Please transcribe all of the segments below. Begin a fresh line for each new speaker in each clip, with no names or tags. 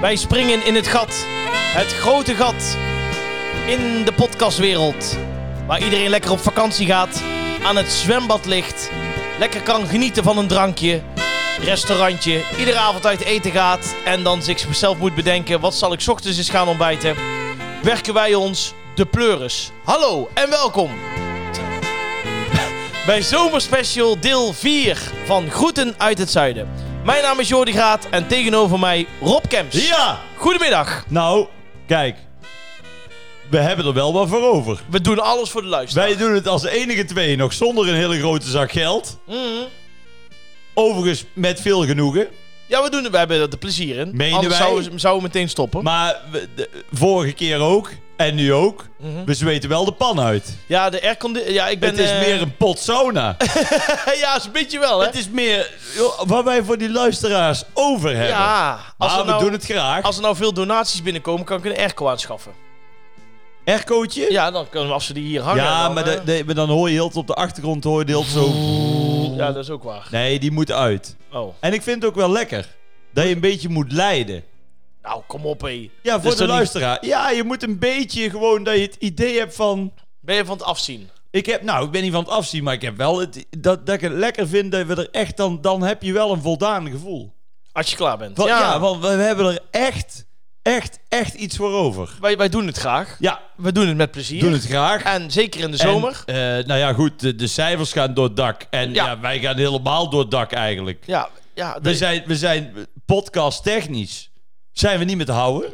Wij springen in het gat. Het grote gat in de podcastwereld. Waar iedereen lekker op vakantie gaat, aan het zwembad ligt, lekker kan genieten van een drankje, restaurantje, iedere avond uit eten gaat en dan zichzelf moet bedenken: wat zal ik 's ochtends eens gaan ontbijten? Werken wij ons de pleuris. Hallo en welkom bij Zomerspecial deel 4 van Groeten uit het Zuiden. Mijn naam is Jordi Graat en tegenover mij Rob Kemps.
Ja!
Goedemiddag.
Nou, kijk. We hebben er wel wat voor over.
We doen alles voor de luisteraar.
Wij doen het als enige twee nog zonder een hele grote zak geld.
Mhm.
Overigens met veel genoegen.
Ja, we, doen het. we hebben er plezier in.
Menen
Anders
wij?
zouden zou we meteen stoppen.
Maar we- de- vorige keer ook. En nu ook.
Mhm.
We zweten wel de pan uit.
Ja, de aircondi... Ja, ik ben...
het is
eh,
meer een pot sauna.
ja, is een beetje wel, hè?
het is meer joh, wat wij voor die luisteraars over hebben.
Ja. Als
maar
er,
we
nou,
doen het graag.
als er nou veel donaties binnenkomen, kan ik een airco aanschaffen.
Erkootje?
Ja, dan kunnen we, als we die hier hangen...
Ja,
dan,
maar,
eh,
de- de- maar dan hoor je heel op de achtergrond hoor je de hele tijd zo...
Ja, dat is ook waar.
Nee, die moet uit.
Oh.
En ik vind het ook wel lekker. Dat je een beetje moet leiden.
Nou, kom op, hé.
Ja, voor
Dus
de
dan niet-
luisteraar. Ja, je moet een beetje gewoon dat je het idee hebt van...
Ben je van het afzien?
Ik heb, nou, ik ben niet van het afzien, maar ik heb wel het, dat, dat ik het lekker vind dat we er echt... Dan, dan heb je wel een voldaan gevoel.
Als je klaar bent.
Want, ja.
ja,
want we hebben er echt, echt, echt iets voor over.
wij, wij doen het graag.
Ja,
We doen het met plezier.
doen het graag.
En zeker in de zomer.
En, eh, nou ja, goed, de, de cijfers gaan door het dak. En
Ja.
ja. wij gaan helemaal door het dak eigenlijk.
Ja, ja.
We
de-
zijn, we zijn podcast technisch. Zijn we niet met te houden?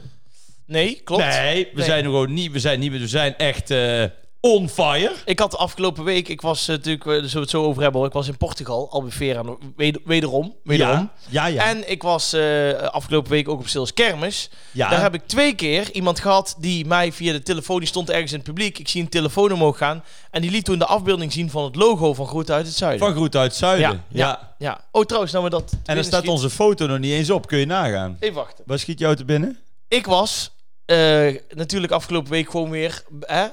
Nee, klopt.
Nee, we
Nee.
zijn gewoon niet. We zijn niet. We zijn echt eh, on fire.
Ik had de afgelopen week, ik was eh, natuurlijk, eh, daar zullen we het zo over hebben hoor. Ik was in Portugal, Albufeira, nog- wed- wederom. wederom.
ja, ja.
En ik was eh, afgelopen week ook op Sils Kermis.
ja.
Daar heb ik twee keer iemand gehad die mij via de telefoon, die stond ergens in het publiek. Ik zie een telefoon omhoog gaan en die liet toen de afbeelding zien van het logo van Groeten uit het Zuiden.
van Groet uit Zuiden.
Ja,
Ja.
Ja. Oh, trouwens, nou we dat... te
En
binnen
er staat
schiet-
onze foto nog niet eens op. Kun je nagaan.
Even wachten.
Wat schiet jou te binnen?
Ik was eh, natuurlijk afgelopen week gewoon weer hè,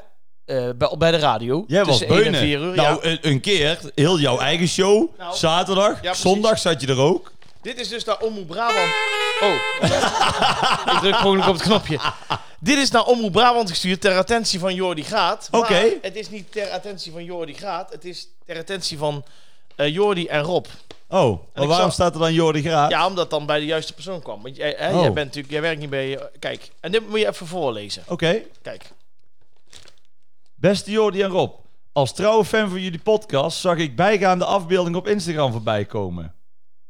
eh, bij, bij de radio.
Jij was
Tussen één en
beunen.
vier uur, ja.
nou, een, een keer. Heel jouw eigen show.
Nou.
Zaterdag.
precies.
zondag zat je er ook.
Dit is dus naar Omroep Brabant. Oh, ik druk gewoon op het knopje. Dit is naar Omroep Brabant gestuurd ter attentie van Jordi Graat. Maar
Oké.
Het is niet ter attentie van Jordi Graat, het is ter attentie van eh, Jordi en Rob.
Oh, maar
ik
waarom
zag-
staat er dan Jordi Graat?
Ja, omdat dan bij de juiste persoon kwam. Want jij, hè,
Oh.
jij, bent natuurlijk, jij werkt niet bij. eh, Kijk, en dit moet je even voorlezen.
Oké.
Kijk.
Beste Jordi en Rob, als trouwe fan van jullie podcast zag ik bijgaande afbeelding op Instagram voorbij komen.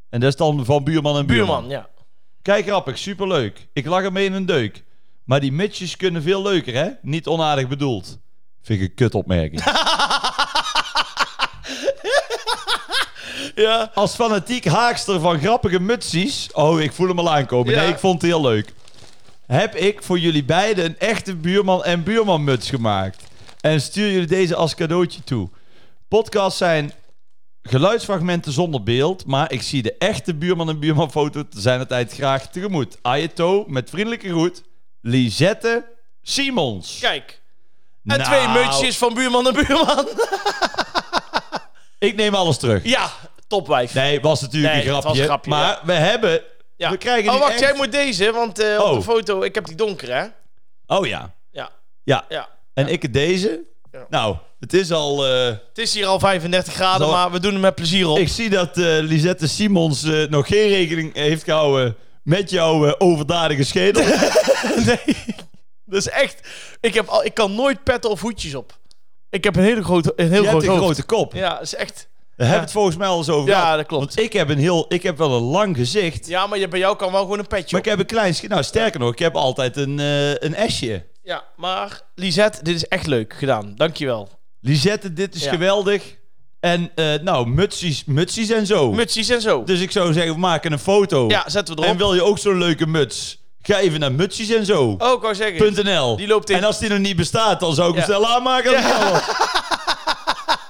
En dat is dan van buurman en buurman.
Buurman, ja.
Kijk grappig, superleuk. Ik lag ermee in een deuk. Maar die matches kunnen veel leuker, hè? Niet onaardig bedoeld. Vind ik een kut opmerking.
Ja.
Als fanatiek haakster van grappige mutsies... Oh, ik voel hem al aankomen.
Ja.
Nee, ik vond het heel leuk. Heb ik voor jullie beiden een echte buurman en buurmanmuts gemaakt. En stuur jullie deze als cadeautje toe. Podcasts zijn geluidsfragmenten zonder beeld, maar ik zie de echte buurman en buurmanfoto te zijn tijd graag tegemoet. Ayeto, met vriendelijke groet, Lisette Simons.
Kijk. En
Nou,
twee mutsjes van buurman en buurman.
Ik neem alles terug.
ja, topwijf.
Nee, was natuurlijk
Nee,
een
het
grapje.
was een grapje,
maar we hebben...
Ja.
We krijgen
oh,
die
wacht,
echt-
jij moet deze, want eh, op
Oh.
de foto, ik heb die donkere, hè?
Oh ja.
Ja,
Ja.
ja.
En ik het deze.
Ja.
Nou, het is al... eh,
Het is hier al 35 graden,
Zo.
maar we doen het met plezier op.
Ik zie dat eh, Lisette Simons eh, nog geen rekening heeft gehouden met jouw eh, overdadige schedel.
nee. Dat is echt... Ik, heb al, ik kan nooit petten of hoedjes op. Ik heb een hele grote, een heel
Je
groot
hebt een
hoofd.
grote kop.
Ja, dat is echt...
We hebben het volgens mij al eens over
Ja,
gehad.
dat klopt.
Want ik heb, een heel, ik heb wel een lang gezicht.
Ja, maar je, bij jou kan wel gewoon een petje
Maar
op.
ik heb een klein... sch- Nou, sterker nog, ik heb altijd een, eh een esje.
Ja, maar Lisette, dit is echt leuk gedaan. Dankjewel.
Lisette, dit is
Ja.
geweldig. En eh, nou, mutsies, mutsies en zo.
Mutsies en zo.
dus ik zou zeggen, we maken een foto.
Ja, zetten we
en
erop.
wil je ook zo'n leuke muts? Ga even naar mutsies en zo.
Oh, ik wou zeggen.
.nl.
Die loopt in-
En als die nog niet bestaat, dan zou ik hem
Ja.
snel aanmaken. Ja.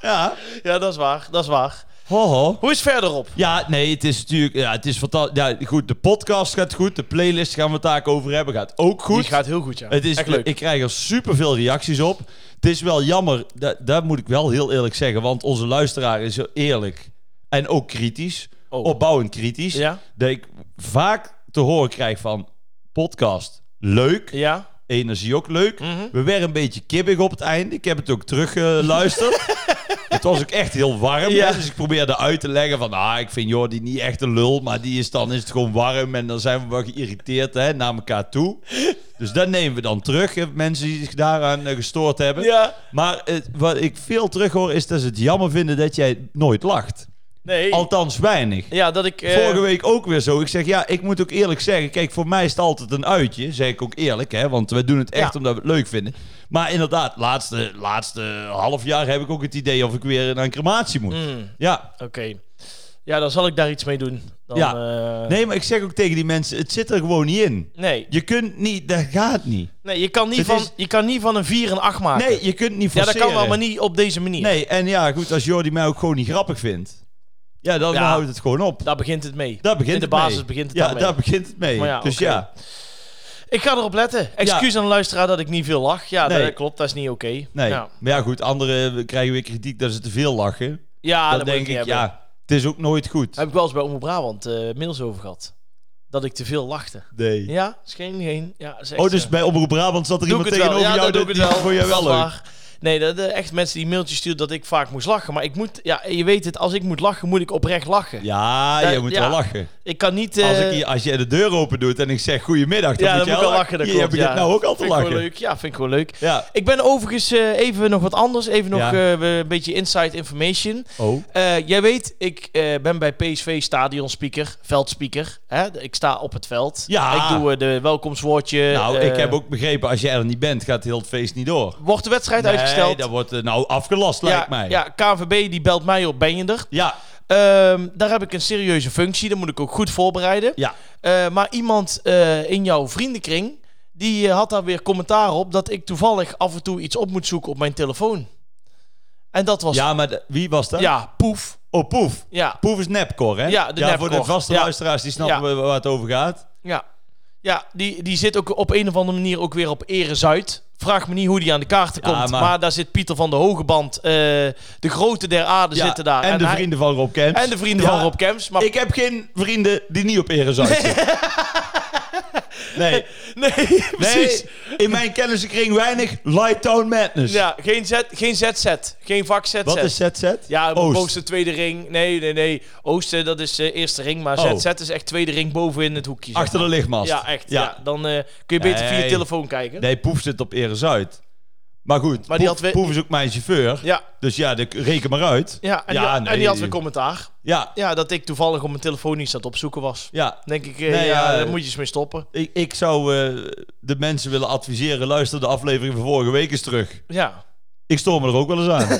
ja.
Ja, dat is waar. Dat is waar.
Ho, ho.
Hoe is het verderop?
Ja, nee, het is natuurlijk... Ja, het is fantastisch. Ja, goed, de podcast gaat goed. De playlist gaan we het daar ook over hebben. Gaat ook goed.
Die gaat heel goed, ja.
Het is,
echt leuk.
Ik krijg er superveel reacties op. Het is wel jammer, da dat moet ik wel heel eerlijk zeggen. Want onze luisteraar is heel eerlijk en ook kritisch.
Oh.
Opbouwend kritisch.
Ja?
Dat ik vaak te horen krijg van podcast leuk,
Ja.
energie ook leuk.
Mhm.
We werden een beetje kibbig op het einde. Ik heb het ook teruggeluisterd. het was ook echt heel warm.
Ja.
hè, Dus ik probeerde uit te leggen van... Ah, ik vind Jordi niet echt een lul. Maar die is dan is het gewoon warm. En dan zijn we wel geïrriteerd hè, naar elkaar toe. Dus dat nemen we dan terug. hè, Mensen die zich daaraan eh, gestoord hebben.
Ja.
Maar het- wat ik veel terughoor is dat ze het jammer vinden dat jij nooit lacht.
Nee.
Althans weinig.
Ja, dat ik... eh,
Vorige week ook weer zo. Ik zeg, ja, ik moet ook eerlijk zeggen. Kijk, voor mij is het altijd een uitje. Zeg ik ook eerlijk, hè. Want we doen het echt
Ja.
omdat we het leuk vinden. Maar inderdaad, laatste, laatste half jaar heb ik ook het idee of ik weer naar een crematie moet.
mm,
Ja.
Oké. Ja, dan zal ik daar iets mee doen. Dan,
Ja.
eh,
Nee, maar ik zeg ook tegen die mensen, het zit er gewoon niet in.
Nee.
Je kunt niet, dat gaat niet.
Nee, je kan niet,
Het
van,
is-
je kan niet van een 4 een 8 maken.
Nee, je kunt niet
Ah, ja,
forceren.
dat kan wel, maar niet op deze manier.
Nee, en ja, goed, als Jordi mij ook gewoon niet grappig vindt. Ja, dan
Ja.
houdt het gewoon op.
Daar begint het mee.
Daar begint
In de
het mee.
basis begint het
Ja,
daarmee.
daar begint het mee.
Maar ja,
dus
oké.
ja,
Ik ga erop letten. Excuus aan de luisteraar dat ik niet veel lach. Ja,
Nee.
dat klopt. Dat is niet oké.
nee.
Ja,
Maar ja, goed, anderen krijgen weer kritiek dat ze te veel lachen.
ja
dan
dat moet
denk
niet
ik,
hebben.
ja, het is ook nooit goed.
Heb ik wel eens bij Omroep Brabant eh, mails over gehad. Dat ik te veel lachte.
Nee.
Ja, is geen, geen. Ja, is echt,
Oh, dus
eh,
bij Omroep Brabant zat er
doe ik
iemand
het wel.
tegenover
Ja,
jou
dat doe ik
dat
het wel.
die vond jij wel
Dat is
leuk.
waar. Nee, dat, eh, echt mensen die mailtjes sturen dat ik vaak moest lachen. Maar ik moet, ja, je weet het, als ik moet lachen, moet ik oprecht lachen.
Ja,
Dat-
je moet
Eh, ja.
wel lachen.
Ik kan niet... eh,
als, ik, hier- als jij de deur open doet en ik zeg goedemiddag, dan
ja,
moet
dan
je
moet ik wel lachen. Dat
Hier
klopt,
heb ik
ja.
het nou ook al te
vind ik wel
lachen.
leuk. Ja, vind ik wel leuk.
Ja.
Ik ben overigens eh, even nog wat anders. Even nog
Ja.
eh, een beetje inside information.
Oh.
Eh, jij weet, ik eh, ben bij PSV stadionspeaker, veldspeaker. Hè? Ik sta op het veld.
Ja.
Ik doe eh, de welkomstwoordje.
Nou,
eh,
ik heb ook begrepen, als jij er niet bent, gaat heel het feest niet door.
Wordt de wedstrijd
Nee,
uitgesteld?
dat wordt eh, nou afgelast, lijkt
ja,
mij.
ja, KNVB die belt mij op, ben je er?
ja,
Ehm, daar heb ik een serieuze functie, daar moet ik ook goed voorbereiden.
ja.
Eh, maar iemand eh, in jouw vriendenkring, die eh, had daar weer commentaar op... dat ik toevallig af en toe iets op moet zoeken op mijn telefoon. En dat was...
ja maar de- wie was dat?
ja poef.
Oh, Poef.
Ja,
Poef is nepcor, hè?
Ja, de
voor de
nepcor.
vaste
Ja.
luisteraars, die snappen
Ja.
waar het over gaat.
Ja, ja die, die zit ook op een of andere manier ook weer op Ere Zuid. Vraag me niet hoe die aan de kaarten
Ja,
komt.
maar-
Maar... daar zit Pieter van de Hogeband. eh, de grote der aarde
Ja,
zitten daar.
En, de
hij-
vrienden van Rob Kemps.
en de vrienden
Ja,
van Rob Kemps. Maar
Ik heb geen vrienden die niet op Erenzak zitten. Nee,
nee, precies.
nee, in mijn kennissenkring weinig Light Town Madness.
Ja, geen, zet, geen ZZ. Geen vak ZZ.
Wat is ZZ?
ja,
Oost.
bovenste tweede ring. Nee, nee, nee. Oosten, dat is eh, eerste ring. Maar
Oh.
ZZ is echt tweede ring boven in het hoekje. zeg
Achter de
maar.
lichtmast.
Ja, echt. Ja. Dan eh, kun je beter via
Nee.
je telefoon kijken.
Nee, Poef zit op Erezuid. Maar goed,
Maar die
Poef,
had weer-
Poef is ook mijn chauffeur.
Ja,
Dus ja, de, reken maar uit.
ja, en,
Ja,
die, had- en
nee.
die had weer commentaar.
Ja,
Ja, dat ik toevallig op mijn telefoon iets aan het opzoeken was.
ja.
Dan denk ik, eh,
Nee,
ja,
ja,
daar
eh,
moet je eens mee stoppen.
Ik, ik zou eh, de mensen willen adviseren, luister de aflevering van vorige week eens terug.
Ja.
Ik stoor me er ook wel eens aan.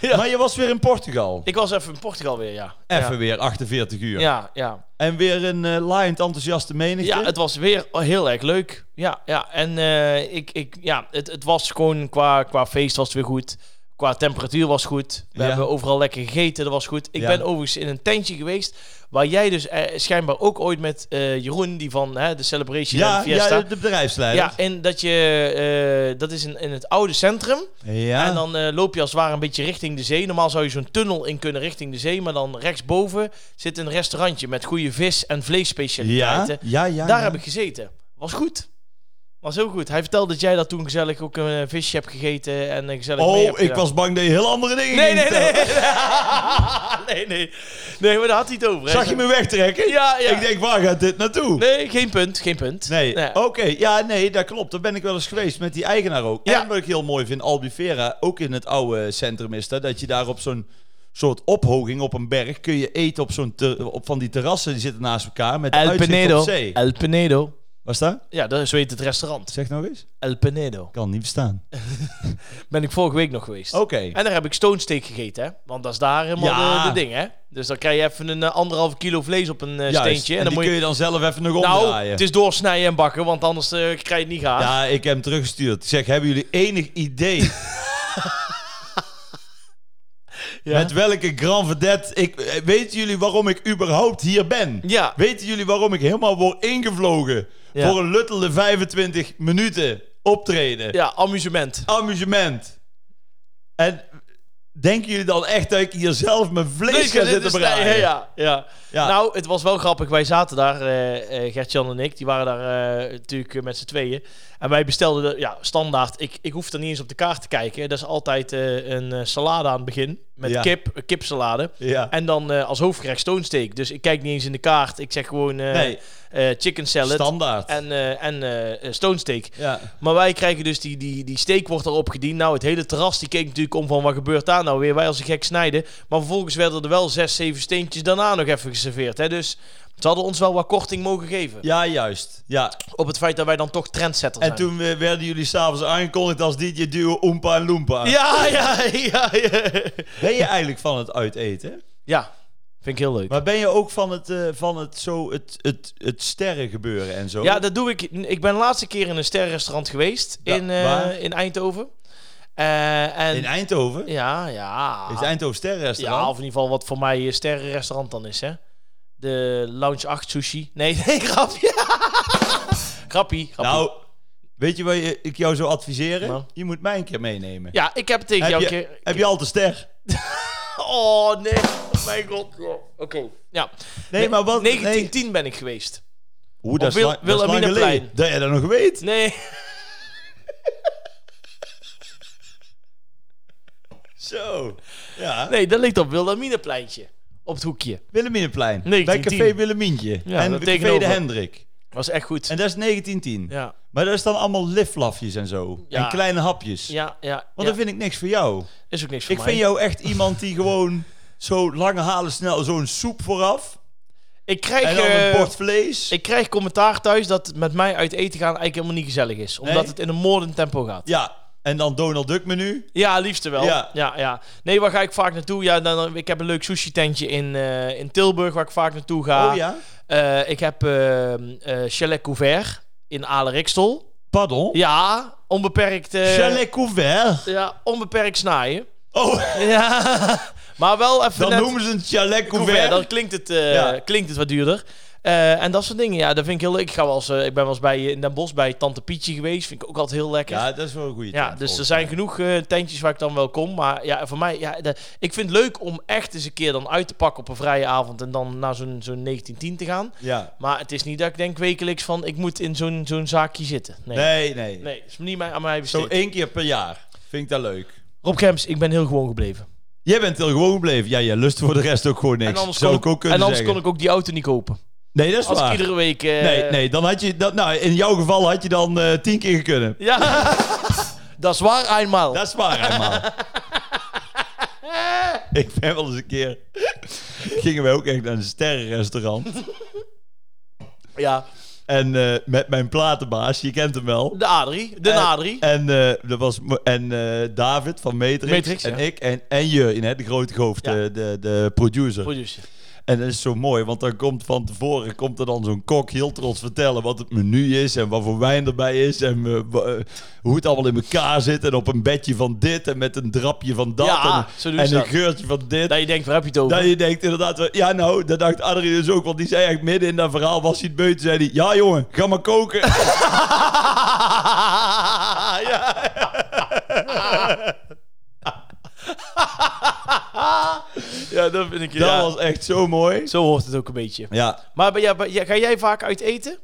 Ja.
Maar je was weer in Portugal.
Ik was even in Portugal weer, ja.
Even
ja.
weer 48 uur.
Ja, ja.
En weer een eh laaiend enthousiaste menigte.
ja, het was weer heel erg leuk. Ja, ja. En eh, ik, ik, ja, het, het was gewoon qua, qua feest was het weer goed. Qua temperatuur was goed. We
Ja.
hebben overal lekker gegeten, dat was goed. Ik
Ja.
ben overigens in een tentje geweest waar jij dus eh, schijnbaar ook ooit met eh, Jeroen, die van hè, de Celebration en
ja,
de Fiesta.
ja, de bedrijfsleider.
ja, en dat je, eh, dat is in, in het oude centrum.
Ja.
En dan eh, loop je als het ware een beetje richting de zee. Normaal zou je zo'n tunnel in kunnen richting de zee. Maar dan rechtsboven zit een restaurantje met goede vis- en
ja,
vleesspecialiteiten.
ja, ja,
Daar
ja.
heb ik gezeten. Was goed. Was heel goed. Hij vertelde dat jij daar toen gezellig ook een eh, visje hebt gegeten. En een gezellig mee hebt
Oh, ik
gedaan.
was bang dat je heel andere dingen
Nee,
ging
nee, nee.
vertellen.
nee, nee. Nee, maar daar had hij het over. hè.
Zag je me wegtrekken?
Ja, ja.
Ik denk, waar gaat dit naartoe?
Nee, geen punt. Geen punt.
Nee, Oh,
Nee.
oké. Ja, nee, dat klopt. Daar ben ik wel eens geweest met die eigenaar ook.
Ja.
En wat ik heel mooi vind, Albufera, ook in het oude centrum is dat, dat je daar op zo'n soort ophoging op een berg kun je eten op zo'n ter- op van die terrassen die zitten naast elkaar met
El
uitzicht
Penedo.
op zee.
El Penedo.
Was dat?
Ja, dat is weet het restaurant.
Zeg nou eens.
El Penedo.
Kan niet verstaan.
Ben ik vorige week nog geweest.
Oké.
En daar heb ik Stone Steak gegeten, hè? Want dat is daar helemaal
Oh. Ja.
de, de ding, hè? Dus dan krijg je even een eh, anderhalve kilo vlees op een eh,
Juist.
steentje.
En,
En dan
die
moet je.
kun je dan zelf even nog
Nou,
omdraaien.
het is doorsnijden en bakken, want anders eh, krijg je het niet gaar.
Ja, ik heb hem teruggestuurd. Ik zeg, hebben jullie enig idee
Ja.
met welke Grand Vedette ik... eh, Weten jullie waarom ik überhaupt hier ben?
Ja.
Weten jullie waarom ik helemaal word ingevlogen
Ja.
voor een luttele 25 minuten optreden?
Ja, amusement.
Amusement. En Denken jullie dan echt dat ik hier zelf mijn vlees ga
Vlees-
zitten
dus- nee,
braaien?
ja, ja.
Ja.
Nou, het was wel grappig. Wij zaten daar, eh eh, Gert-Jan en ik, die waren daar eh, natuurlijk eh, met z'n tweeën. En wij bestelden, de- ja, standaard. Ik, ik hoef er niet eens op de kaart te kijken. Dat is altijd eh, een eh, salade aan het begin. Met
Ja.
kip, eh, kipsalade.
Ja.
En dan eh, als hoofdgerecht stoonsteek. Dus ik kijk niet eens in de kaart. Ik zeg gewoon eh,
nee,
eh, chicken salad
standaard.
en, eh en eh stoonsteek.
ja.
Maar wij krijgen dus die, die, die steek wordt erop gediend. Nou, het hele terras die keek natuurlijk om van wat gebeurt daar nou weer. Wij als een gek snijden. Maar vervolgens werden er wel zes, zeven steentjes daarna nog even geserveerd. Hè? Dus ze hadden ons wel wat korting mogen geven.
ja, juist. Ja.
Op het feit dat wij dan toch trendsetters
En
zijn.
toen eh, werden jullie s'avonds aangekondigd als DJ duo Oompa en Loompa.
Ja, ja, ja, ja.
Ben je eigenlijk van het uiteten?
Ja, vind ik heel leuk.
Maar ben je ook van het, eh, van het, zo, het, het, het sterren gebeuren en zo?
Ja, dat doe ik. Ik ben de laatste keer in een sterrenrestaurant geweest.
Ja,
in, eh,
waar?
in Eindhoven. Eh, en,
In Eindhoven?
Ja, ja.
Is Eindhoven sterrenrestaurant?
Ja, of in ieder geval wat voor mij een sterrenrestaurant dan is, hè? De Lounge 8 sushi. Nee, nee, grapje. grappie, grappie.
Nou, weet je wat je, ik jou zou adviseren?
Nou.
Je moet mij een keer meenemen.
ja, ik heb het tegen
heb,
jou
je,
een keer...
heb je al de ster?
Oh, nee. Oh, mijn god. Ja, Oké. Ja.
Nee, maar wat... nee.
1910 ben ik geweest.
Oeh, dat
Op
is
Wil-
lang, dat is lang
Wilhelminaplein.
geleden. Dat je dat nog weet.
Nee.
Zo. Ja.
Nee, dat ligt op Wilhelminapleintje. Op het hoekje.
Wilhelminaplein. Bij
1910.
Café Willemientje.
Ja,
en
daar
Café de
tegenover.
Hendrik.
Was echt goed.
En dat is 1910.
Ja.
Maar dat is dan allemaal liflafjes en zo.
Ja.
En kleine hapjes.
Ja, ja.
Want
ja.
dan vind ik niks voor jou.
Is ook niks voor
Ik
mij.
vind jou echt iemand die gewoon zo lange halen snel zo'n soep vooraf.
Ik krijg...
en dan een
eh,
bord vlees.
ik krijg commentaar thuis dat het met mij uit eten gaan eigenlijk helemaal niet gezellig is. Omdat
Nee?
het in een moordend tempo gaat.
Ja. En dan Donald Duck menu.
Ja, liefste wel. Ja.
Ja.
Ja, Nee, waar ga ik vaak naartoe? Ja, dan, dan- ik heb een leuk sushi-tentje in, eh, in Tilburg waar ik vaak naartoe ga.
Oh ja.
Eh, ik heb ehm eh Chalet Couvert in Alerikstol.
Pardon?
Ja, onbeperkt... eh,
Chalet couvert.
Ja, onbeperkt snaaien.
Oh,
ja, maar wel even
dan
net...
noemen ze een chalet
Couvert,
couvert.
dan klinkt het, eh,
Ja.
klinkt het wat duurder. Eh, en dat soort dingen, ja, dat vind ik heel leuk. Ik, ga wel eens, eh, ik ben wel eens bij, eh, in Den Bosch bij Tante Pietje geweest. Vind ik ook altijd heel lekker.
Ja, dat is wel een goede
Ja,
tent,
dus er
volgens
zijn
mij.
genoeg eh, tentjes waar ik dan wel kom. Maar ja, voor mij, ja, de- ik vind het leuk om echt eens een keer dan uit te pakken op een vrije avond. En dan naar zo'n zo'n 1910 te gaan.
Ja.
Maar het is niet dat ik denk wekelijks van ik moet in zo'n zo'n zaakje zitten. Nee. nee.
Nee, nee.
dat is niet mij, aan mij
Zo
besteed.
één keer per jaar. Vind ik dat leuk.
Rob Gems, ik ben heel gewoon gebleven.
Jij bent heel gewoon gebleven. Ja, jij lust voor de rest ook gewoon niks.
en anders,
Zou
kon
ik ook kunnen
en anders
zeggen.
kon ik ook die auto niet kopen.
Nee, dat is
Als ik
waar.
iedere week... eh,
Nee, nee, dan had je... Dat, nou, in jouw geval had je dan eh, tien keer kunnen.
Ja, dat is waar eenmaal.
Dat is waar, helemaal. ik ben wel eens een keer... Gingen wij ook echt naar een sterrenrestaurant.
Ja,
En eh, met mijn platenbaas, je kent hem wel.
de Adrie, de
En-
Nadrie.
En, eh, dat was, mo- en eh, David van Matrix,
Matrix,
en
ja.
ik en, en Jurjen, hè, de grote hoofd,
Ja.
de, de, de producer.
Producer.
en dat is zo mooi, want dan komt van tevoren komt er dan zo'n kok heel trots vertellen wat het menu is en wat voor wijn erbij is en eh, wa- eh, hoe het allemaal in elkaar zit en op een bedje van dit en met een drapje van dat
Ja,
en,
zo doen
en
ze
een
dat.
geurtje van dit.
Dat je denkt, waar heb je het over?
Dat je denkt inderdaad, wel- ja nou, dat dacht Adrie dus ook, want die zei eigenlijk midden in dat verhaal, was hij het beu, toen zei hij, ja jongen, ga maar koken.
ja. ja, dat vind ik ja.
Dat was echt zo mooi.
Zo hoort het ook een beetje.
Ja,
Maar ben jij- ben jij- ga jij vaak uit eten?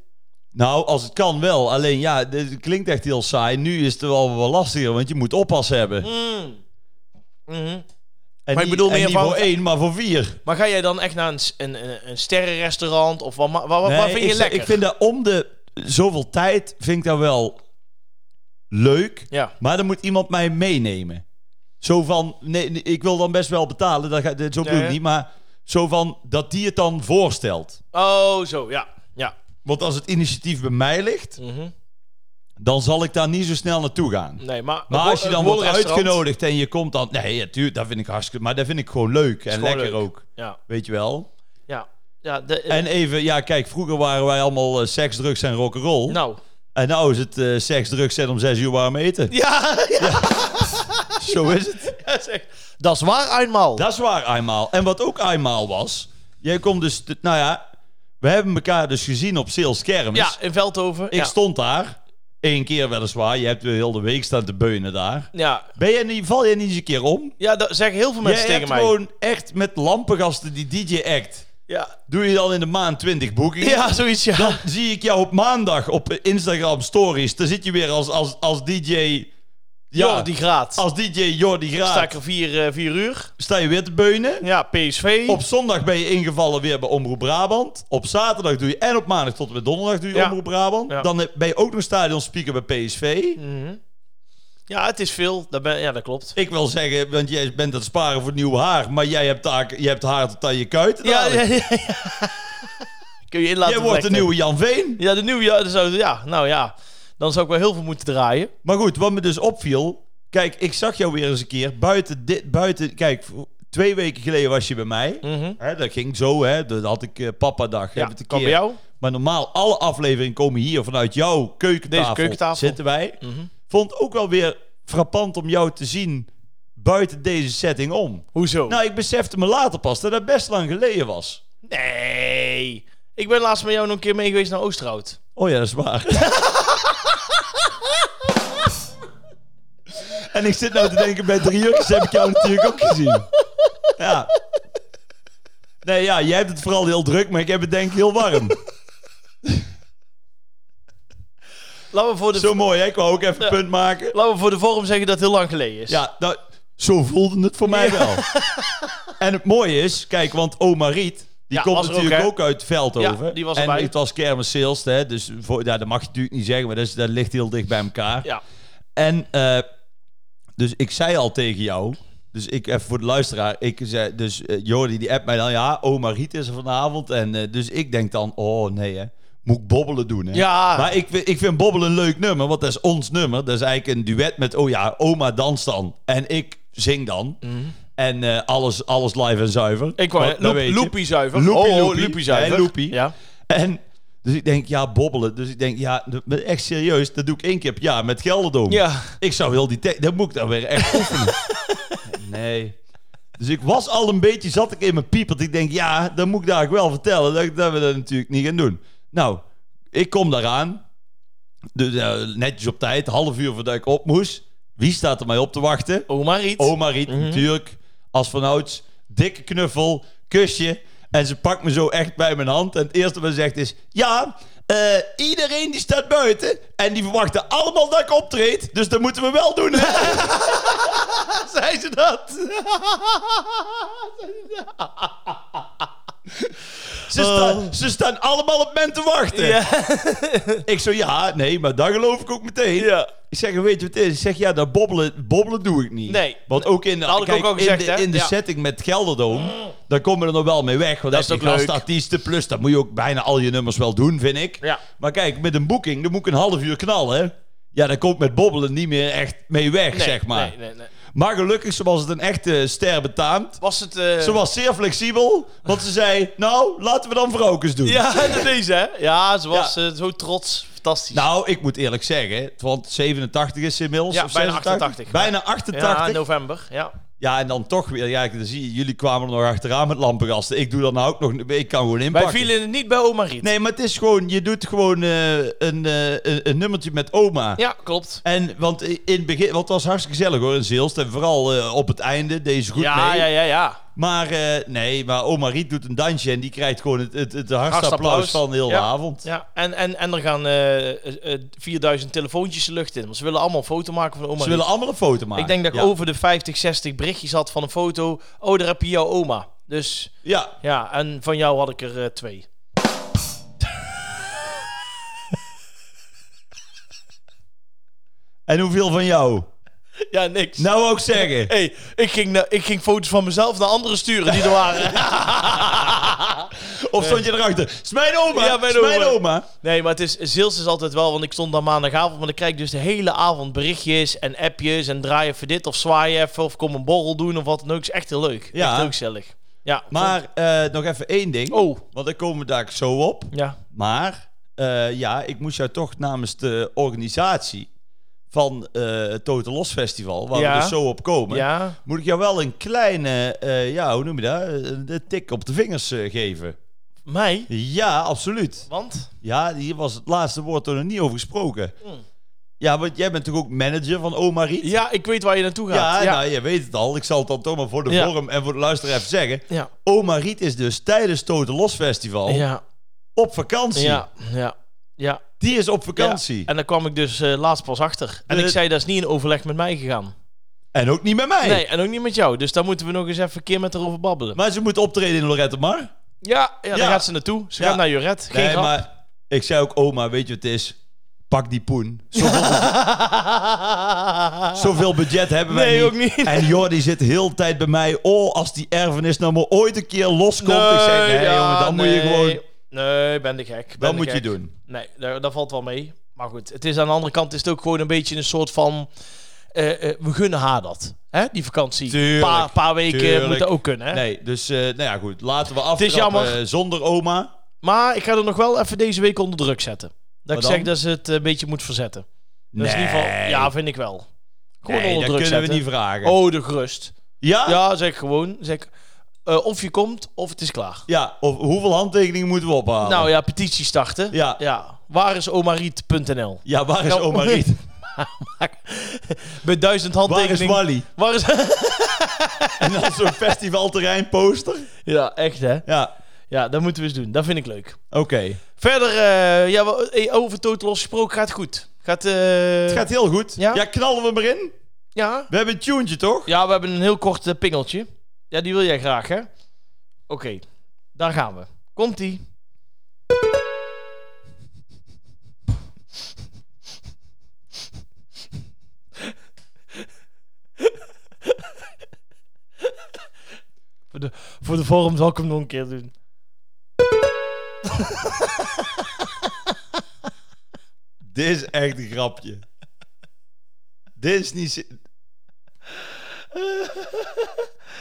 Nou, als het kan wel. Alleen ja, dit klinkt echt heel saai. Nu is het wel wel lastiger, want je moet oppas hebben.
Mm. Mhm.
En
Maar ik
niet-
bedoel
en
meer
niet
van-
voor één, maar voor vier.
Maar ga jij dan echt naar een, s- een, een, een sterrenrestaurant? Of wat, ma- wat, wat, wat
Nee,
vind
ik,
je
zeg-
lekker?
Ik vind dat om de zoveel tijd vind ik dat wel leuk.
Ja.
Maar dan moet iemand mij meenemen. Zo van, nee, nee, ik wil dan best wel betalen. Dat ga, dit- zo bedoel
Ja,
ik
ja.
niet, maar zo van dat die het dan voorstelt.
Oh, zo, ja. ja.
Want als het initiatief bij mij ligt,
Mhm.
dan zal ik daar niet zo snel naartoe gaan.
Nee, maar,
Maar
een
als je
wo-
dan
een
wordt
restaurant-
uitgenodigd en je komt dan... Nee, ja, tuurlijk, dat vind ik hartstikke... Maar dat vind ik gewoon leuk en
gewoon
lekker
leuk.
ook.
Ja,
Weet je wel?
ja. ja de,
En even, ja kijk, vroeger waren wij allemaal eh, seks, drugs en rock'n'roll.
nou.
En nou is het eh, seks, drugs en om zes uur warm eten.
Ja, ja.
Zo is het.
zeg. Dat is waar, eenmaal.
Dat is waar, eenmaal. En wat ook eenmaal was... Jij komt dus... te- nou ja, we hebben elkaar dus gezien op Sales Kermis.
ja, in Veldhoven.
Ik
ja.
stond daar. Eén keer weliswaar. Je hebt de hele week staan te beunen daar.
Ja,
Ben je niet, val je niet eens een keer om?
ja dat zeggen heel veel
Jij
mensen
hebt
tegen mij.
gewoon echt met lampengasten die DJ act.
Ja.
Doe je dan in de maand 20 boekingen?
ja, zoiets ja.
Dan zie ik jou op maandag op Instagram stories. Dan zit je weer als, als, als DJ... Ja, Oh,
Jordi Graat.
als DJ Jordi Graat.
Sta ik er vier, eh, vier uur.
Sta je weer te beunen.
Ja, PSV.
Op zondag ben je ingevallen weer bij Omroep Brabant. Op zaterdag doe je en op maandag tot en met donderdag doe je
Ja.
Omroep Brabant.
Ja.
Dan ben je ook nog stadionspeaker bij PSV.
Mhm. Ja, het is veel. Dat ben, ja, dat klopt.
Ik wil zeggen, want jij bent aan het sparen voor nieuw haar, maar jij hebt, haar- je hebt haar tot aan je kuiten.
Ja,
dadelijk.
ja, ja, ja. Kun je in laten
jij wordt de
trekken.
nieuwe Jan Veen.
Ja, de nieuwe. Ja, dan zou, ja, nou ja. Dan zou ik wel heel veel moeten draaien.
Maar goed, wat me dus opviel. Kijk, ik zag jou weer eens een keer buiten dit, buiten. Kijk, twee weken geleden was je bij mij.
Mhm.
Hè, dat ging zo, hè? Dat had ik eh, papa dag.
Ja,
heb het een
kwam bij
keer.
jou.
Maar normaal, alle afleveringen komen hier vanuit jouw keukentafel.
Deze keukentafel.
Zitten wij.
Mhm.
Vond ook wel weer frappant om jou te zien buiten deze setting om.
Hoezo?
Nou, ik besefte me later pas dat dat best lang geleden was.
Nee. Ik ben laatst met jou nog een keer mee geweest naar Oosterhout.
Oh ja, dat is waar. en ik zit nou te denken, bij drie uur heb ik jou natuurlijk ook gezien. Ja. Nee, ja, jij hebt het vooral heel druk, maar ik heb het denk ik heel warm.
Laten we voor de,
Zo mooi, hè? Ik wou ook even een punt maken.
laten we voor de vorm zeggen dat het heel lang geleden is.
Ja, nou, zo voelde het voor mij wel. en het mooie is, kijk, want oma Riet, die
Ja,
komt
was er ook,
natuurlijk
hè?
ook, uit Veldhoven.
Ja, die was
en
erbij.
het was kermis sales, hè, dus voor, ja, dat mag je natuurlijk niet zeggen, maar dat, is, dat ligt heel dicht bij elkaar.
Ja.
En eh, dus ik zei al tegen jou, dus ik even voor de luisteraar, ik zei, dus eh, Jordi die appt mij dan, ja, oma Riet is er vanavond. En eh, dus ik denk dan, oh nee hè, moet ik bobbelen doen hè.
Ja.
Maar ik, vind- ik vind bobbelen een leuk nummer, want dat is ons nummer. Dat is eigenlijk een duet met, oh ja, oma danst dan en ik zing dan. En eh, alles, alles live en zuiver.
Mhm. Ik wou,
Want,
hè,
dat
loep,
weet je.
loopie zuiver.
Loopie,
oh,
loopie.
loopie zuiver.
Nee, loopie.
Ja.
En dus ik denk, ja, bobbelen. Dus ik denk, ja, d- maar echt serieus, dat doe ik één keer per jaar met Gelderdoom.
Ja.
Ik zou heel die tekst... Dat moet ik dan weer echt oefenen. nee. Dus ik was al een beetje... Zat ik in mijn piepert. Ik denk, ja, dan moet ik daar wel vertellen. Dat, dat we dat natuurlijk niet gaan doen. Nou, ik kom daaraan. Dus, eh, netjes op tijd. Half uur voordat ik op moest. Wie staat er mij op te wachten?
Oma Riet.
Oma Riet, natuurlijk. Als vanouds. Dikke knuffel, kusje. En ze pakt me zo echt bij mijn hand. En het eerste wat ze zegt is... Ja, eh, iedereen die staat buiten... en die verwachten allemaal dat ik optreed... dus dat moeten we wel doen, hè? Zei ze dat? ze, staan, ze staan allemaal op men te wachten.
Oh. Ja.
Oh, Ik zo, ja, nee, maar dat geloof ik ook meteen.
Ja.
Ik zeg, weet je wat het is? Ik zeg, ja, dat bobbelen, bobbelen doe ik niet.
Nee.
Want ook in,
had ik
kijk,
ook al gezegd,
in de,
hè?
in de
Ja. Mm.
setting met Gelderdoom, daar komen we er nog wel mee weg. Want dat
is
is ook
ook leuk.
gastartiesten, plus dat moet je ook bijna al je nummers wel doen, vind ik.
Ja.
Maar kijk, met een boeking, dan moet ik een half uur knallen. hè. Ja, daar komt met bobbelen niet meer echt mee weg,
Nee,
zeg maar.
Nee, nee, nee.
Maar gelukkig, ze was het een echte ster betaamt.
Was het... eh,
Ze was zeer flexibel, want ze zei, nou, laten we dan vrouwkens doen.
Ja, dat deze hè. Ja, ze was
Ja.
eh, zo trots. Fantastisch.
Nou, ik moet eerlijk zeggen, want 87 is ze inmiddels.
Ja,
of
bijna
86.
88.
Bijna
ja,
88.
in
Ja,
november. Ja.
en dan toch weer. Ja, dan zie je, jullie kwamen er nog achteraan met lampengasten. Ik doe dan nou ook nog. Ik kan gewoon
Wij
inpakken.
vielen het niet bij Oma Riet.
Nee, maar het is gewoon. Je doet gewoon eh, een, eh, een, een nummertje met oma.
Ja, klopt.
En want in het begin, want het was hartstikke gezellig hoor in Zeelst. En vooral eh, op het einde, deze goed
ja,
mee.
ja, ja, ja.
Maar eh, nee, maar oma Riet doet een dansje en die krijgt gewoon het, het, het hartapplaus
Hartapplaus.
van heel
Ja.
de avond.
ja. En, en, en er gaan eh, eh, 4000 telefoontjes de lucht in. Want ze willen allemaal een foto maken van Oma
Ze
Riet.
willen allemaal een foto maken.
Ik denk dat ik
ja.
over de 50, 60 berichtjes had van een foto. Oh, daar heb je jouw oma. Dus
Ja,
ja, en van jou had ik er eh, twee.
en hoeveel van jou?
Ja, niks.
Nou ook zeggen.
hey, ik, ging na- ik ging foto's van mezelf naar anderen sturen die er waren.
Of stond je erachter? Is mijn oma!
Ja, mijn
Is mijn
oma.
oma!
nee, maar het is, Zils is altijd wel, want ik stond daar maandagavond, maar dan krijg ik dus de hele avond berichtjes en appjes en draai even dit of zwaai even of kom een borrel doen of wat dan ook. Is echt heel leuk.
Ja.
Echt heel gezellig. Ja.
Maar eh, nog even één ding.
Oh.
Want daar komen we daar zo op.
Ja.
Maar eh, ja, ik moest jou toch namens de organisatie van eh, het Total Los Festival, waar
Ja.
we dus zo op komen,
Ja.
moet ik jou wel een kleine, eh, ja, hoe noem je dat? Een een tik op de vingers eh, geven.
Mij?
Ja, absoluut.
Want? Hmm.
Ja, hier was het laatste woord er nog niet over gesproken. Ja, want jij bent toch ook manager van Oma Riet?
Ja, ik weet waar je naartoe gaat.
Ja,
Ja,
nou, je weet het al. Ik zal het dan toch maar voor de
Ja.
vorm en voor de luisteraar even zeggen.
ja.
Oma Riet is dus tijdens Toten Los Festival
ja.
op vakantie.
Ja, ja, ja.
Die is op vakantie.
En daar kwam ik dus eh, laatst pas achter. En
De-
ik zei, dat is niet in overleg met mij gegaan.
En ook niet met mij.
Nee, en ook niet met jou. Dus daar moeten we nog eens even een keer met haar over babbelen.
Maar ze moet optreden in Lorette Mar.
Ja, ja, daar
Ja.
gaat ze naartoe. Ze
Ja.
gaat naar Joret. Geen
nee,
grap.
maar ik zei ook, oma, weet je wat het is? Pak die poen. Zoveel, zoveel budget hebben wij
Nee,
niet.
ook niet.
En Jordi zit heel de tijd bij mij. Oh, als die erfenis nou maar ooit een keer loskomt. ik zei, nee
ja,
jongen, dan moet je
nee.
gewoon...
Nee, ben de gek. ben
Dat
de
moet je
gek.
doen.
Nee, daar, daar valt wel mee. Maar goed, het is aan de andere kant is het ook gewoon een beetje een soort van... eh, eh, we gunnen haar dat. Hè? Die vakantie. Een
Tuurlijk,
paar, paar weken
tuurlijk.
moet dat ook kunnen. Hè?
Nee, dus eh, nou ja, goed. Laten we af.
jammer.
zonder oma.
Maar ik ga er nog wel even deze week onder druk zetten. Dat
Wat
ik
dan?
zeg dat ze het eh, een beetje moet verzetten. Dus in ieder geval, ja, vind ik wel. Gewoon
nee, dat
onder
kunnen
druk zetten.
we niet vragen.
oh, de gerust.
Ja? ja?
Ja, zeg gewoon. Zeg, eh, of je komt, of het is klaar.
Of hoeveel handtekeningen moeten we ophalen?
Nou ja, petitie starten.
Ja.
ja. Waar is omariet.nl?
Ja, waar is
Nou,
oma Riet?
Met duizend
Waar is
handtekeningen.
Wally?
Waar is...
En dan zo'n festivalterrein poster.
ja, echt hè.
Ja,
Ja, dat moeten we eens doen. Dat vind ik leuk.
oké.
Verder, eh, ja, wel- eh, over Total Loss gesproken gaat goed. Gaat, eh,
Het gaat heel goed. Ja?
Ja?
knallen we maar in.
Ja.
We hebben een tunetje, toch?
Ja, we hebben een heel kort eh, pingeltje. Ja, die wil jij graag, hè? Oké, daar gaan we. Komt-ie. voor, de, voor de vorm zal ik hem nog een keer doen.
Dit is echt een grapje. Dit is niet... zi-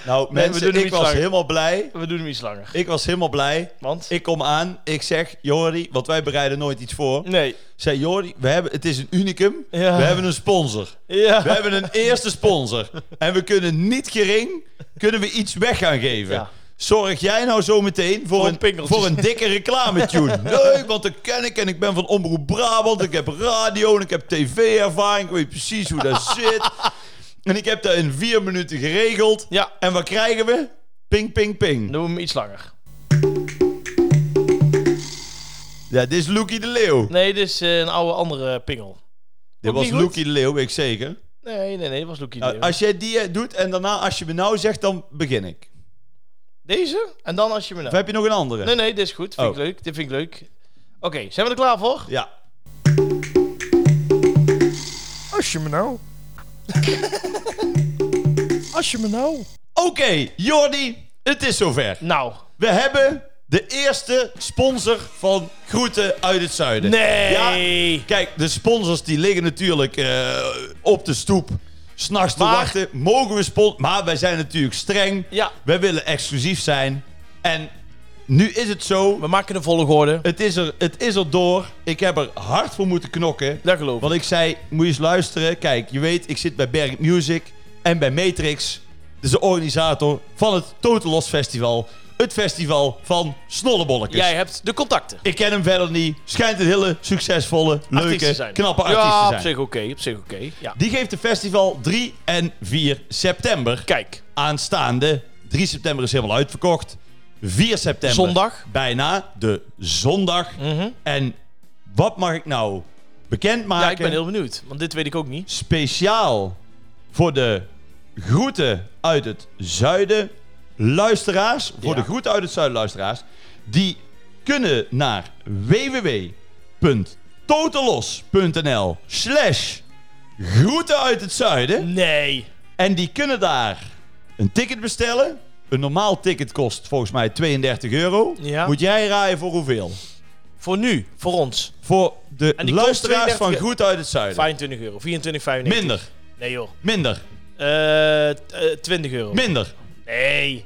nou,
Nee, we
mensen,
doen hem
ik
iets
was
langer.
helemaal blij.
We doen hem iets langer.
Ik was helemaal blij.
Want?
Ik kom aan, ik zeg, Jordi, want wij bereiden nooit iets voor.
Nee.
Zei Jordi, we hebben, het is een unicum.
Ja.
We hebben een sponsor.
Ja.
We hebben een eerste sponsor. En we kunnen niet gering kunnen we iets weg gaan geven.
Ja.
Zorg jij nou zo meteen voor,
Voor
een,
pingeltjes.
voor een dikke reclame-tune. Nee, want dat ken ik en ik ben van Omroep Brabant. Ik heb radio en ik heb tv-ervaring. Ik weet precies hoe dat zit. En ik heb dat in vier minuten geregeld.
Ja,
En wat krijgen we? Ping, ping, ping.
doen we hem iets langer.
Ja, dit is Loekie de Leeuw.
Nee, dit is eh, een oude andere pingel.
dit
ook
was
niet goed?
Loekie de Leeuw, weet ik zeker.
Nee, nee, nee, dat was Loekie.
Nou, als jij die eh, doet en daarna als je me nou zegt, dan begin ik.
Deze? En dan als je me
Of
nou...
heb je nog een andere?
Nee, nee, dit is goed. Vind
Oh.
ik leuk. Dit vind ik leuk. Oké, zijn we er klaar voor?
Ja.
Als je me nou... als je me nou...
Oké, Jordi, het is zover.
Nou.
We hebben de eerste sponsor van Groeten uit het Zuiden.
Nee.
Kijk, de sponsors die liggen natuurlijk eh, op de stoep. S'nachts te
Maar-
wachten. Mogen we spon. Maar wij zijn natuurlijk streng.
Ja.
Wij willen exclusief zijn. En nu is het zo.
We maken een volgorde.
Het is, er, het is er door. Ik heb er hard voor moeten knokken.
Dat geloof ik.
Want ik zei, moet je eens luisteren. Kijk, je weet, ik zit bij Berg Music en bij Matrix. Dus de organisator van het Total Loss Festival. Het festival van snollebolletjes.
Jij hebt de contacten.
Ik ken hem verder niet. Schijnt een hele succesvolle, leuke,
Artiesten zijn.
knappe
ja,
artiest te
op
zijn.
zich oké. op zich oké. Ja.
Die geeft de festival 3 en 4 september.
Kijk.
Aanstaande 3 september is helemaal uitverkocht. 4 september.
Zondag.
Bijna de zondag.
Mhm.
En wat mag ik nou bekendmaken?
Ja, ik ben heel benieuwd. Want dit weet ik ook niet.
speciaal voor de groeten uit het zuiden luisteraars, voor
Ja.
de groeten uit het zuiden luisteraars, die kunnen naar www.totalos.nl slash groeten uit het zuiden
Nee.
en die kunnen daar een ticket bestellen. Een normaal ticket kost volgens mij 32 euro.
Ja.
Moet jij raaien voor hoeveel?
Voor nu. Voor ons.
Voor de
En die kost
luisteraars
32
van Groeten uit het Zuiden.
25 euro. 24,95.
Minder,
Nee joh.
minder,
Eh, t- eh, 20 euro.
minder.
Nee.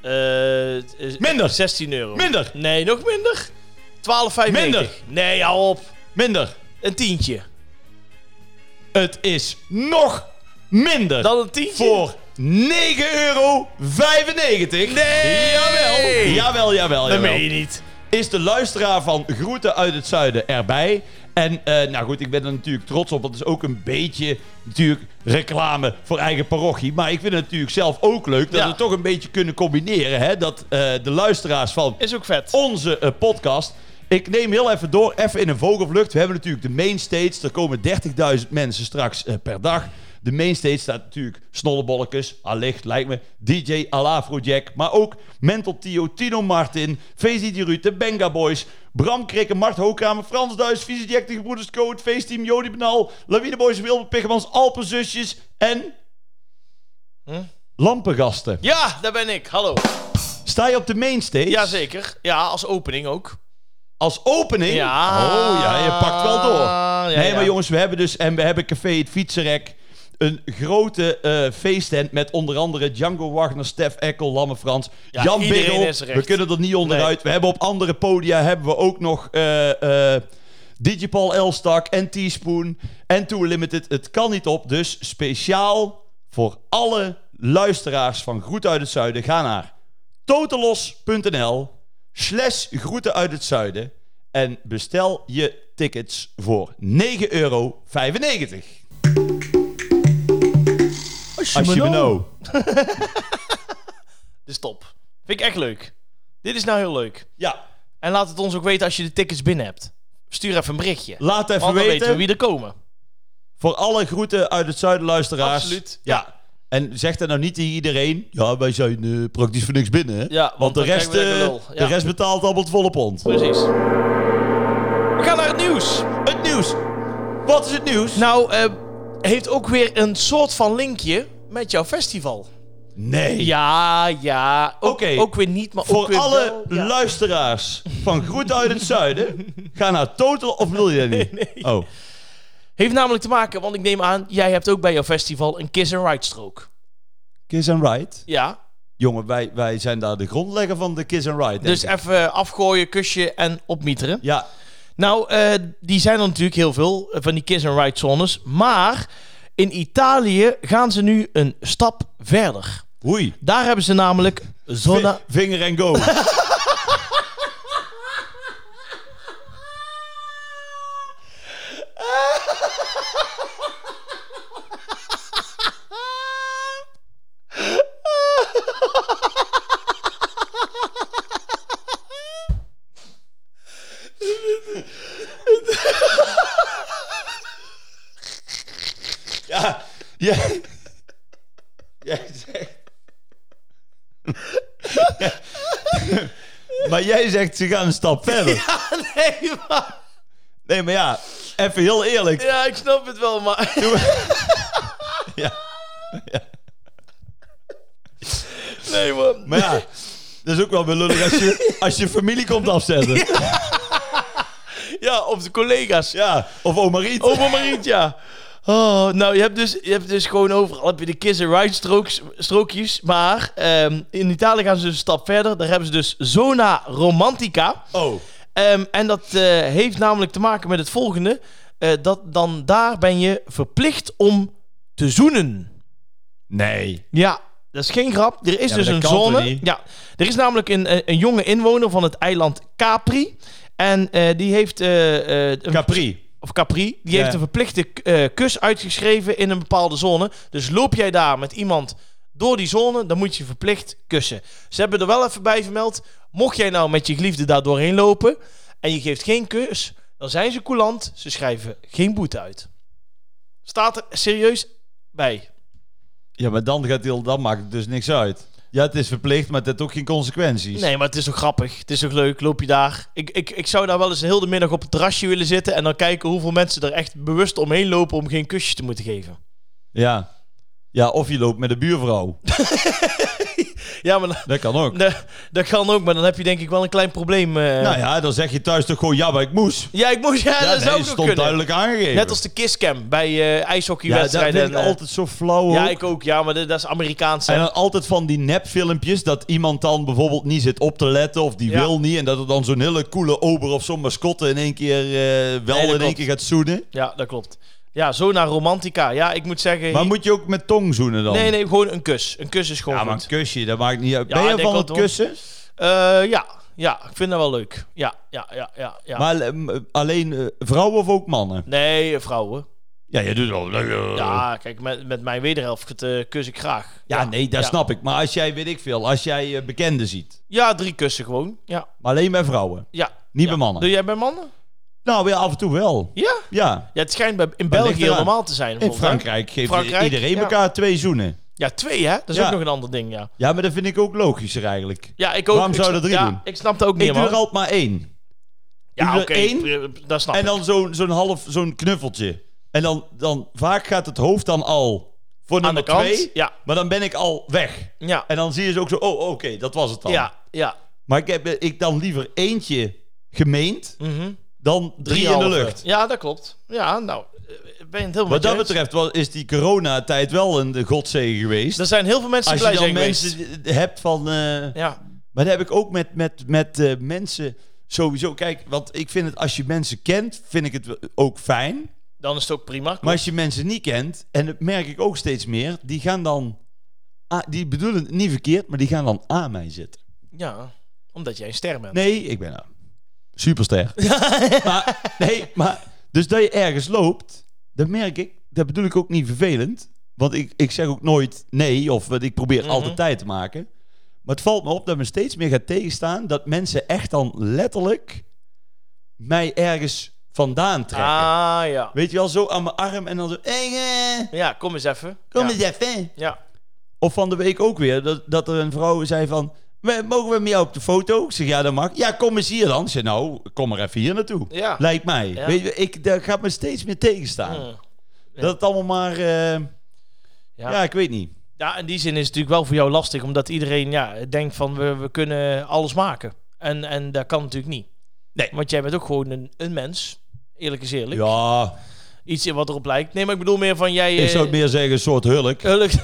Eh, t- is-
Minder.
16 euro.
Minder.
Nee, nog minder. 12,95.
Minder.
Nee, hou op.
Minder.
Een tientje.
Het is nog minder
Dan een tientje.
voor 9,95 euro. Nee! Jawel, jawel, jawel.
Dat
jawel.
meen je niet.
is de luisteraar van Groeten uit het Zuiden erbij. En eh, nou goed, ik ben er natuurlijk trots op. Dat is ook een beetje natuurlijk reclame voor eigen parochie. Maar ik vind het natuurlijk zelf ook leuk dat
Ja.
we het toch een beetje kunnen combineren. Hè? Dat eh, de luisteraars van
Is ook vet.
onze eh, podcast. Ik neem heel even door, even in een vogelvlucht. We hebben natuurlijk de mainstage. Er komen 30.000 mensen straks eh, per dag. De mainstage staat natuurlijk Snollebollekes, allicht lijkt me, DJ Alafro Jack, maar ook Mental Tio, Tino Martin, VZ de Ruud, de Benga Boys, Bram Krikken, Mart Hoogkamer, Frans Duis, Vieze Jack, de Gebroeders Coat, Feestteam, Jody Benal, Lawine Boys, Wilbert Pigmans, Alpenzusjes en...
Hm?
Lampengasten.
Ja, daar ben ik. Hallo.
Sta je op de mainstage?
Jazeker. Ja, als opening ook.
Als opening?
Ja.
Oh ja, je pakt wel door.
Ja,
nee,
ja.
maar jongens, we hebben dus... En we hebben Café Het Fietsenrek. Een grote eh feesttent met onder andere Django Wagner, Stef Eckel, Lamme Frans,
Ja,
Jan
iedereen
Birrel.
is er
We
echt.
kunnen er niet onderuit.
Nee.
We hebben op andere podia hebben we ook nog eh eh Digipal Elstak en Teaspoon en Tour Limited. Het kan niet op, dus speciaal voor alle luisteraars van Groet uit het Zuiden. Ga naar totelos.nl slash groeten uit het zuiden en bestel je tickets voor 9,95 euro. Als je me nou.
Dit is top. Vind ik echt leuk. Dit is nou heel leuk.
Ja,
En laat het ons ook weten als je de tickets binnen hebt. Stuur even een berichtje.
laat even
Want dan weten we
weten.
wie er komen.
Voor alle groeten uit het zuiden luisteraars.
Absoluut.
Ja. En zeg dan nou niet tegen iedereen. Ja, wij zijn eh, praktisch voor niks binnen. Hè?
Ja, want
want de
dan
rest,
krijgen we
eh,
lekker lul.
de
Ja.
rest betaalt allemaal het volle pond.
Precies. We gaan naar het nieuws.
Het nieuws. Wat is het nieuws?
Nou, eh, heeft ook weer een soort van linkje met jouw festival.
nee.
Ja, ja. Ook,
Oké.
ook weer niet, maar ook
Voor
weer
alle
wel, ja.
luisteraars van Groeten uit het Zuiden, ga naar Total of wil je dat niet? Oh,
Heeft namelijk te maken, want ik neem aan, jij hebt ook bij jouw festival een kiss and ride strook.
Kiss and Ride.
Ja,
Jongen, wij, wij zijn daar de grondlegger van de Kiss and Ride. denk
dus
ik.
even afgooien, kusje en opmieteren.
Ja,
Nou, eh, die zijn er natuurlijk heel veel, eh, van die kiss and ride zones. Maar in Italië gaan ze nu een stap verder.
Oei.
Daar hebben ze namelijk zona...
Vi- Vinger en go. ja, jij, jij zegt... Maar jij zegt ze gaan een stap verder.
nee, maar...
Nee, maar ja, even heel eerlijk.
Ja, ik snap het wel, maar...
Ja.
Nee, man.
Maar ja, dat is ook wel weer lullig als je, als je familie komt afzetten. Ja,
Ja, of de collega's.
of oma Riet.
Oma Mariet, ja. Oh, nou, je hebt, dus, je hebt dus gewoon overal heb je de kiss and ride strooks- strookjes. Maar ehm, in Italië gaan ze dus een stap verder. Daar hebben ze dus Zona Romantica.
Oh,
Ehm, en dat eh, heeft namelijk te maken met het volgende. Eh, dat dan daar ben je verplicht om te zoenen.
nee.
Ja, dat is geen grap. Er is
Ja,
dus
maar
een
dat kan toch
zone.
niet?
Ja, er is namelijk een, eh, een, een jonge inwoner van het eiland Capri. En eh, die heeft eh, eh, een
Capri.
of Capri, die
Ja.
heeft een verplichte eh, kus uitgeschreven in een bepaalde zone. Dus loop jij daar met iemand door die zone, dan moet je verplicht kussen. Ze hebben er wel even bij vermeld, mocht jij nou met je geliefde daar doorheen lopen en je geeft geen kus, dan zijn ze coulant, ze schrijven geen boete uit. Staat er serieus bij.
Ja, maar dan, gaat heel, dan maakt het dus niks uit. Ja, het is verplicht, maar het heeft ook geen consequenties.
Nee, maar het is toch grappig, het is toch leuk, loop je daar. Ik, ik, ik zou daar wel eens heel de middag op het terrasje willen zitten en dan kijken hoeveel mensen er echt bewust omheen lopen om geen kusjes te moeten geven.
Ja. ja, of je loopt met de buurvrouw.
Ja, maar dan-
Dat kan ook.
Nee, dat kan ook, maar dan heb je denk ik wel een klein probleem. eh.
Nou ja, dan zeg je thuis toch gewoon, ja, maar ik moest.
ja, ik moest. Ja,
Ja,
dat
nee,
zou ook nog
stond
kunnen.
duidelijk aangegeven.
Net als de kisscam bij eh
ja, dat vind
ijshockeywedstrijden.
ik
en, eh,
altijd zo flauw
ja,
ook.
ik ook. Ja, maar dit- dat is Amerikaans. hè.
En dan altijd van die nepfilmpjes dat iemand dan bijvoorbeeld niet zit op te letten of die
Ja.
wil niet. En dat er dan zo'n hele coole ober of zo'n mascotte in één keer eh, wel
Nee, dat
in één
klopt.
keer gaat zoenen.
Ja, dat klopt. Ja, zo naar romantica. Ja, ik moet zeggen...
Maar
hier-
moet je ook met tong zoenen dan?
Nee, nee, gewoon een kus. Een kus is gewoon
Ja, maar een
goed.
kusje, dat maakt niet uit.
Ja,
ben
ik
je van
denk
het
dat wel.
kussen?
Eh, ja. Ja, ik vind dat wel leuk. Ja, ja, ja, ja. ja.
Maar eh, alleen eh, vrouwen of ook mannen?
Nee, vrouwen.
Ja, je doet wel. eh. Ja,
Ja, kijk, met, met mijn wederhelft eh, kus ik graag.
Oh. ja nee, dat
ja.
snap ik. Maar als jij, weet ik veel, als jij eh, bekenden ziet.
Ja, drie kussen gewoon. Ja,
Maar alleen bij vrouwen,
ja.
niet
ja.
bij mannen.
Doe jij bij mannen?
Nou, ja, af en toe wel.
Ja.
Ja.
Ja, het schijnt bij, in
ligt
België heel
eraan.
normaal te zijn.
In
bijvoorbeeld, hè?
Frankrijk geeft
Frankrijk,
iedereen
ja.
elkaar twee zoenen.
Ja, twee hè? Dat is
Ja.
ook nog een ander ding, ja.
Ja, maar dat vind ik ook logischer eigenlijk.
Ja, ik ook.
Waarom
ik
zou je
sna-
er drie
ja,
doen?
ik snap het ook
Ik
niet,
doe
man.
er altijd maar één.
ja,
doe er
oké.
één.
Dat snap
En
ik.
dan zo'n zo'n half, zo'n knuffeltje. En dan, dan vaak gaat het hoofd dan al voor
Aan de
nummer
kant.
twee.
Ja,
Maar dan ben ik al weg.
ja,
En dan zie je ze ook zo, oh oké, dat was het dan.
ja, ja.
Maar ik heb eh, ik dan liever eentje gemeend
Mhm.
dan drie, in
halve.
de lucht.
Ja, dat klopt. Ja, nou, eh, ik ben je het helemaal
Wat
met je
dat
eens.
betreft was, is die coronatijd wel een de godzegen geweest.
Er zijn heel veel mensen
Als je
blij
dan
zijn geweest.
mensen hebt van... eh,
Ja,
Maar dat heb ik ook met, met, met eh, mensen sowieso. Kijk, want ik vind het als je mensen kent, vind ik het wel- ook fijn.
dan is het ook prima.
Maar als je mensen niet kent, en dat merk ik ook steeds meer, die gaan dan. ah, die bedoelen het niet verkeerd, maar die gaan dan aan mij zitten.
Ja, omdat jij een ster bent.
Nee, ik ben een superster. maar, nee, maar. Dus dat je ergens loopt, dat merk ik. Dat bedoel ik ook niet vervelend. Want ik, ik zeg ook nooit nee, of wat ik probeer
Mhm.
altijd tijd te maken. Maar het valt me op dat me steeds meer gaat tegenstaan dat mensen echt dan letterlijk mij ergens vandaan trekken.
ah, ja.
Weet je wel, zo aan mijn arm en dan zo. "Hey, eh,
Ja, kom eens even.
kom
ja.
eens even.
Ja.
Of van de week ook weer, dat, dat er een vrouw zei van... "We- Mogen we met jou op de foto? Ik zeg, ja, dat mag. Ja, kom eens hier dan. Ik zeg, nou, kom maar even hier naartoe.
Ja.
Lijkt mij.
Ja.
Weet je, ik, daar gaat me steeds meer tegenstaan.
Hm.
Dat het allemaal maar... eh, ja. ik weet niet.
Ja, in die zin is het natuurlijk wel voor jou lastig, omdat iedereen ja, denkt van we, we kunnen alles maken. En, en dat kan natuurlijk niet.
Nee.
Want jij bent ook gewoon een, een mens. Eerlijk is eerlijk.
Ja,
Iets wat erop lijkt. Nee, maar ik bedoel meer van jij.
ik
eh,
zou het meer zeggen, een soort hulk.
eerlijk-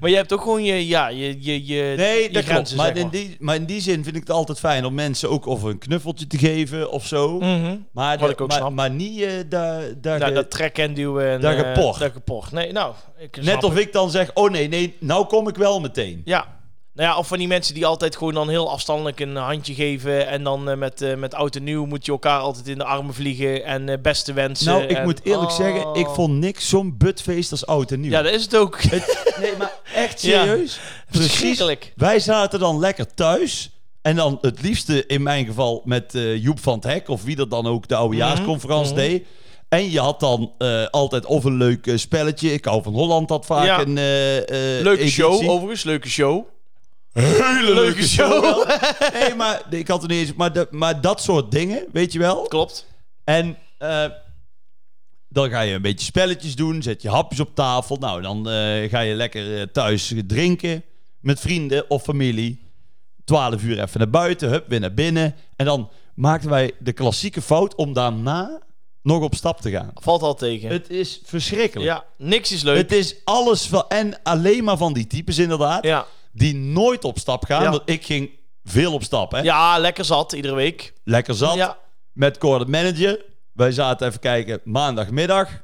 maar je hebt ook gewoon je. Ja, je, je, je je
Nee, dat klopt.
grenzen,
Maar,
zeg
in die, maar in die zin vind ik het altijd fijn om mensen ook of een knuffeltje te geven of zo.
Mhm.
Maar,
Wat
de-
ik ook
maar,
snap.
maar niet eh, daar... daar
Nou,
ge-
dat trekken en duwen. En,
daar
eh,
gepocht.
daar gepocht. Nee, nou. Ik
net
snap
of
het.
ik dan zeg, oh nee, nee, nou kom ik wel meteen.
Ja. Nou ja, of van die mensen die altijd gewoon dan heel afstandelijk een handje geven. En dan eh, met, eh, met oud en nieuw moet je elkaar altijd in de armen vliegen. En eh, beste wensen.
Nou, ik
en-
moet eerlijk
Oh.
zeggen, ik vond niks zo'n butfeest als oud en nieuw.
Ja, dat is het ook.
Het- nee, maar echt
Ja.
serieus. Precies.
Verschrikkelijk.
Wij zaten dan lekker thuis. En dan het liefste in mijn geval met eh, Joep van het Hek of wie dat dan ook de oudejaarsconferentie
Mhm, mhm.
deed. En je had dan eh, altijd of een leuk eh, spelletje. Ik hou van Holland dat vaak
Ja.
een eh, eh,
Leuke
editie.
show, overigens. Leuke show.
Hele
leuke show.
wel. nee, maar ik had er niet eens. Maar, dat- maar dat soort dingen, weet je wel.
Klopt.
En eh, dan ga je een beetje spelletjes doen, zet je hapjes op tafel. Nou, dan eh, ga je lekker eh, thuis drinken met vrienden of familie. 12 uur even naar buiten, hup, weer naar binnen. En dan maakten wij de klassieke fout om daarna nog op stap te gaan.
Valt al tegen.
Het is verschrikkelijk.
ja, niks is leuk.
Het is alles van, en alleen maar van die types inderdaad,
ja.
die nooit op stap gaan.
Ja.
Want ik ging veel op stap, hè.
ja, lekker zat iedere week.
Lekker zat
Ja.
met Cor de manager. Wij zaten even kijken maandagmiddag.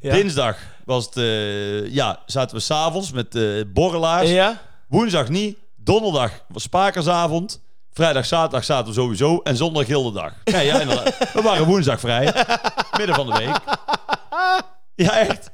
Ja.
Dinsdag was het, eh, ja, zaten we s'avonds met eh borrelaars.
Ja.
Woensdag niet. Donderdag was spakersavond. Vrijdag, zaterdag zaten we sowieso. En zondag heel de dag. Ja, ja, inderdaad. We waren woensdag vrij. Midden van de week. Ja, echt.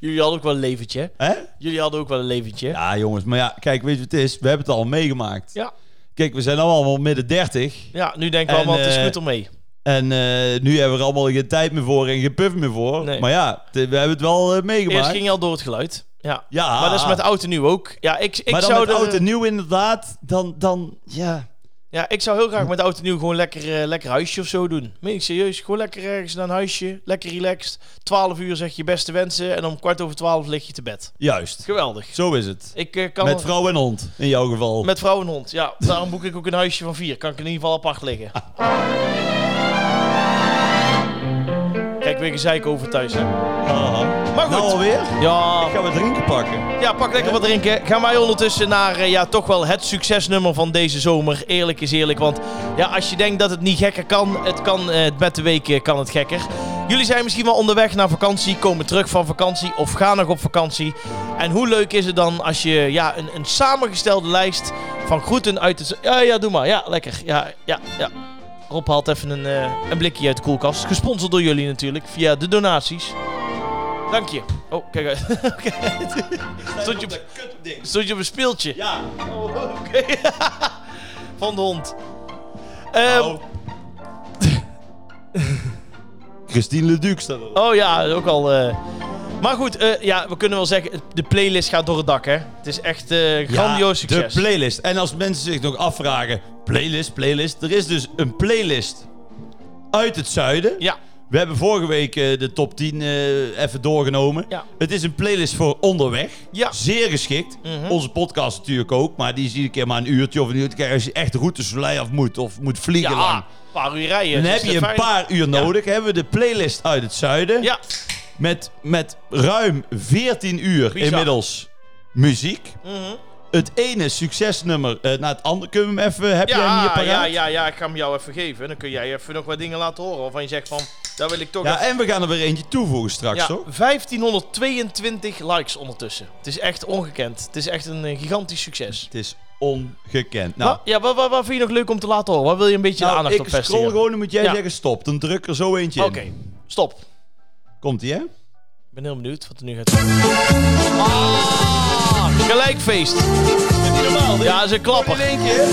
Jullie hadden ook wel een leventje. hè?
Hè?
Jullie hadden ook wel een leventje.
Ja, jongens. Maar ja, kijk, weet je wat het is? We hebben het al meegemaakt.
Ja.
Kijk, we zijn nou allemaal midden 30.
Ja, nu denken we
En,
allemaal, het is
eh,
goed om mee.
En eh, nu hebben we er allemaal geen tijd meer voor en geen puff meer voor.
Nee.
Maar ja, t- we hebben het wel eh, meegemaakt.
Eerst ging je al door het geluid. Ja.
Ja,
Maar dat is met oud en nieuw ook. Ja, ik, ik
maar dan
zou
met
er-
oud en nieuw inderdaad, dan, dan ja.
Ja, ik zou heel graag met oud en nieuw gewoon lekker, eh, lekker huisje of zo doen. Meen ik serieus. Gewoon lekker ergens naar een huisje. Lekker relaxed. 12 uur zeg je beste wensen. En om kwart over 12 lig je te bed.
Juist,
Geweldig.
zo is het.
Ik eh, kan
Met vrouw en hond, in jouw geval.
Met vrouw en hond, ja. Daarom boek ik ook een huisje van vier. Kan ik in ieder geval apart liggen. Kijk, weer gezeik over thuis, hè.
Aha.
Maar goed.
Nou alweer?
Ja,
Ik ga wat drinken pakken.
ja, pak lekker wat drinken. Gaan wij ondertussen naar eh, ja, toch wel het succesnummer van deze zomer. Eerlijk is eerlijk, want ja, als je denkt dat het niet gekker kan, het kan eh, met de week eh, kan het gekker. Jullie zijn misschien wel onderweg naar vakantie, komen terug van vakantie of gaan nog op vakantie. En hoe leuk is het dan als je ja, een, een samengestelde lijst Van groeten uit de... z- Ja, ja, doe maar. Ja, lekker. Ja, ja, ja. Rob haalt even een, eh, een blikje uit de koelkast. Gesponsord door jullie natuurlijk, via de donaties. Dank je. Oh, kijk uit. Oké. Stond je op-
kutding.
Stond je op een speeltje
Ja.
van de hond. Ehm,
Nou. Christine Leduc staat erop.
Oh ja, dat is ook al. eh. Maar goed, eh, ja, we kunnen wel zeggen, de playlist gaat door het dak, hè? Het is echt eh grandioos succes.
De playlist. En als mensen zich nog afvragen, playlist, playlist. Er is dus een playlist uit het zuiden.
ja,
We hebben vorige week eh, de top 10 eh, even doorgenomen.
Ja.
Het is een playlist voor onderweg.
Ja. Mhm.
Zeer geschikt. Onze podcast natuurlijk ook, maar die is iedere keer maar een uurtje of een uurtje. Kijk, als je echt routes vrij af moet of moet vliegen
ja,
lang.
een paar uur rijden.
Dan
dat
heb
is
je
de
een
fijn-
paar uur nodig. Hebben we de playlist uit het zuiden.
Ja,
Met, met ruim 14 uur
Bizar.
inmiddels muziek.
mhm.
Het ene succesnummer eh, naar het andere. Kunnen we hem even... Heb jij hem hier
ja,
paraat?
ja, ja, ja, ik ga hem jou even geven. Dan kun jij even nog wat dingen laten horen. Waarvan je zegt van, daar wil ik toch
Ja,
even-
en we gaan er weer eentje toevoegen straks,
Ja,
toch?
1522 likes ondertussen. Het is echt ongekend. Het is echt een eh, gigantisch succes.
Het is ongekend.
Nou.
Nou,
ja, wat, wat, wat vind je nog leuk om te laten horen? Waar wil je een beetje de
nou,
aandacht
ik
op
scroll
vestigen?
gewoon, dan moet jij
Ja.
zeggen stop. Dan druk er zo eentje
Oké,
in.
stop.
Komt-ie, hè?
Ik ben heel benieuwd wat er nu gaat gebeuren. Ah, gelijkfeest. Ja, dat is een klapper.
één keer.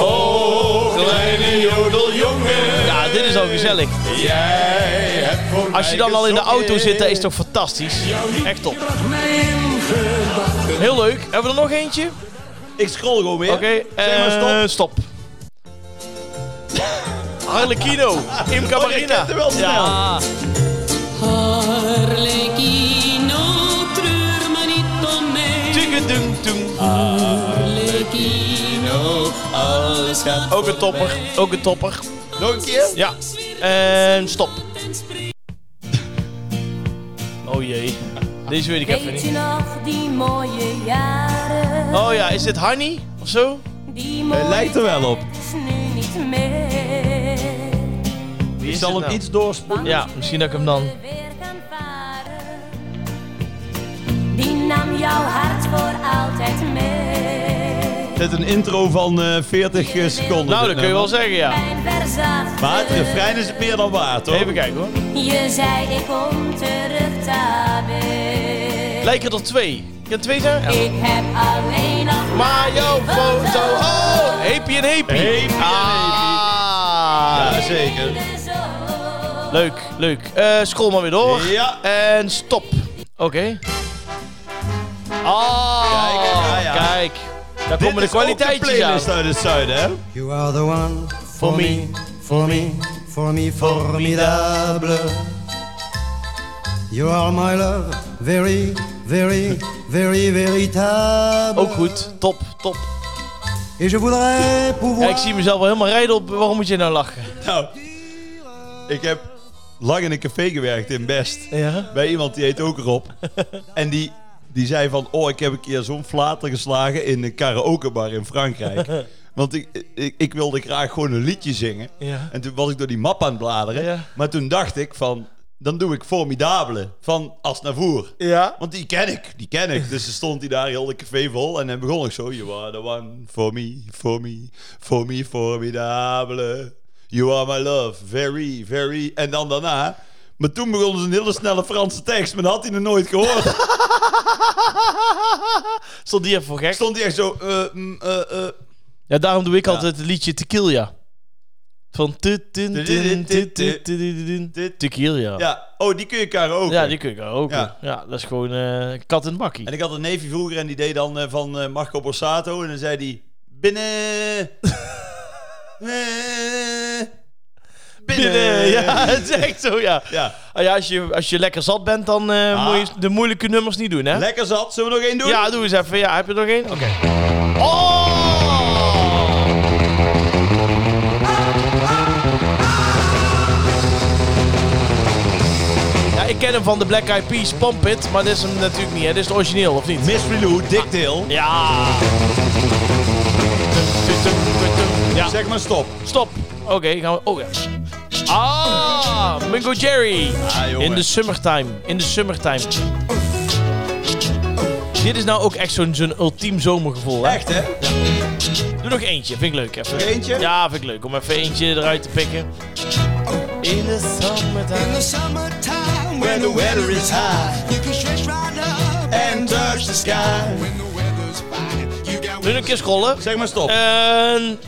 Oh, kleine jodeljongen.
Ja, dit is al gezellig.
Jij hebt voor
Als je dan al in de auto zit, dat is toch fantastisch. Echt top. Heel leuk. Hebben we er nog eentje?
Ik scroll gewoon weer.
Oké,
Zeg maar
eh,
stop.
stop.
Oh,
Harlekino, Im
Oh, je kent
Camarina.
hem wel snel.
Ja.
Arlecchino, treur me niet om mij.
Tjiggedoeng, doeng.
Arlecchino, alles gaat
Ook een topper, ook een topper.
Nog een keer.
Ja. En stop. Oh jee. Deze weet ik even
Weet je
niet.
nog die mooie jaren?
Oh Eh, ja, is dit Honey of zo?
Die mooie
lijkt er wel op.
tijd Is nu niet meer.
Wie
Ik
is
zal
dit
hem
nou?
iets doorspoelen.
Ja, misschien dat ik hem dan.
We weer gaan varen. Die nam jouw hart voor altijd mee.
Dit een intro van eh, 40 seconden.
Nou, dat kun je wel zeggen, ja.
Pijn verzacht.
Maar het refrein is het meer dan waard, hoor.
Even kijken hoor.
Je zei ik kom terug daarbij.
Lijken er twee. Kan twee zijn? Ja.
Ik heb alleen nog
Maar jouw foto. Oh, happy en happy.
Happy en
Ah.
Ja, zeker.
de zon.
Leuk, leuk. Eh scroll maar weer door.
Ja.
En stop. Oké. Ah.
Kijk, ja, ja.
Kijk. Daar
Dit
komen de
is ook
kwaliteitjes aan.
playlist uit het zuiden, hè?
You are the one for me, for me, for me, formidable. You are my love, very, very, very, véritable.
Ook goed. Top, top.
Et je voudrais
Ja,
pouvoir.
ik zie mezelf wel helemaal rijden op. Waarom moet je nou lachen?
Nou, ik heb lang in een café gewerkt in Best.
Ja.
Bij iemand die heet ook Rob. En die, die zei van, oh, ik heb een keer zo'n flater geslagen in een karaokebar in Frankrijk. Want ik, ik, ik wilde graag gewoon een liedje zingen.
Ja.
En toen was ik door die map aan het bladeren.
Ja.
Maar toen dacht ik van, dan doe ik Formidabele van Asnavoer.
Ja.
Want die ken ik, die ken ik. Dus dan stond hij daar heel de café vol en hij begon ik zo... You are the one for me, for me, for me, formidable. You are my love, very, very... En dan daarna... Maar toen begon ze een hele snelle Franse tekst, maar dat had hij nog nooit gehoord.
Stond die even voor gek?
stond hij echt zo... eh, mm, eh, eh.
Ja, daarom doe ik altijd het liedje Tequila. Van tu- tu- tu- tu- tu- tu- tu- tu- Tequila.
Ja, oh, die kun je karaoke.
Ja, die kun ik ook.
Ja.
Ja, dat is gewoon eh, kat in het bakkie.
En ik had een neefje vroeger en die deed dan eh, van eh, Marco Borsato. En dan zei hij... Binnen... Eh, binnen...
Binnen. Ja, het is echt zo, ja.
Ja.
Ah ja, als, je, als je lekker zat bent, dan eh,
Ah.
moet je de moeilijke nummers niet doen, hè?
Lekker zat. Zullen we nog één doen?
Ja, doe eens even. Ja, heb je er nog één? Oké. Oh! Ja, ik ken hem van de Black Eyed Peas, Pump It, maar dit is hem natuurlijk niet, hè? Dit is het origineel, of niet?
Miss Relou, Dick Dale.
Ja! Ja,
Zeg maar stop.
stop. Oké, gaan we... Oh, ja. Ah, Mingo Jerry.
Ah, jongen.
In the summertime. In the summertime. Die Dit is nou ook echt zo'n zo'n ultiem zomergevoel. Hè?
Echt, hè?
Doe nog eentje, vind ik leuk. Even.
Nog eentje?
Ja, vind ik leuk. Om even eentje eruit te pikken. In the
In
summertime.
the summertime, when the weather is high,
You can stretch right up
and touch the sky.
when the weather's fine. You got
Doe nog een keer scrollen.
Zeg maar stop.
Eh. En...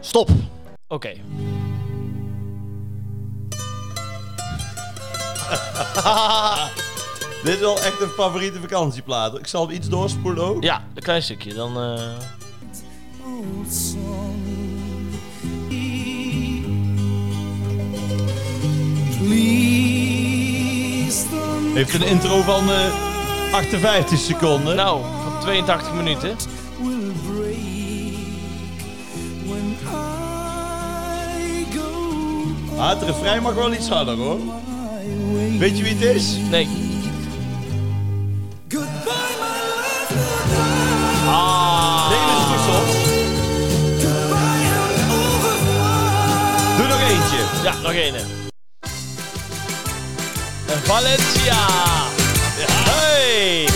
Stop. Oké.
Dit is wel echt een favoriete vakantieplaat. Ik zal hem iets doorspoelen ook.
Ja, een klein stukje. Dan... eh,
Heeft een intro van eh, 58 seconden.
Nou, van 82 minuten.
Ah, het refrein mag wel iets harder hoor. Weet je wie het is?
Nee. Ah.
David Fussel. Doe nog eentje.
Ja, nog één. hè. En Valencia. Ja. Hey.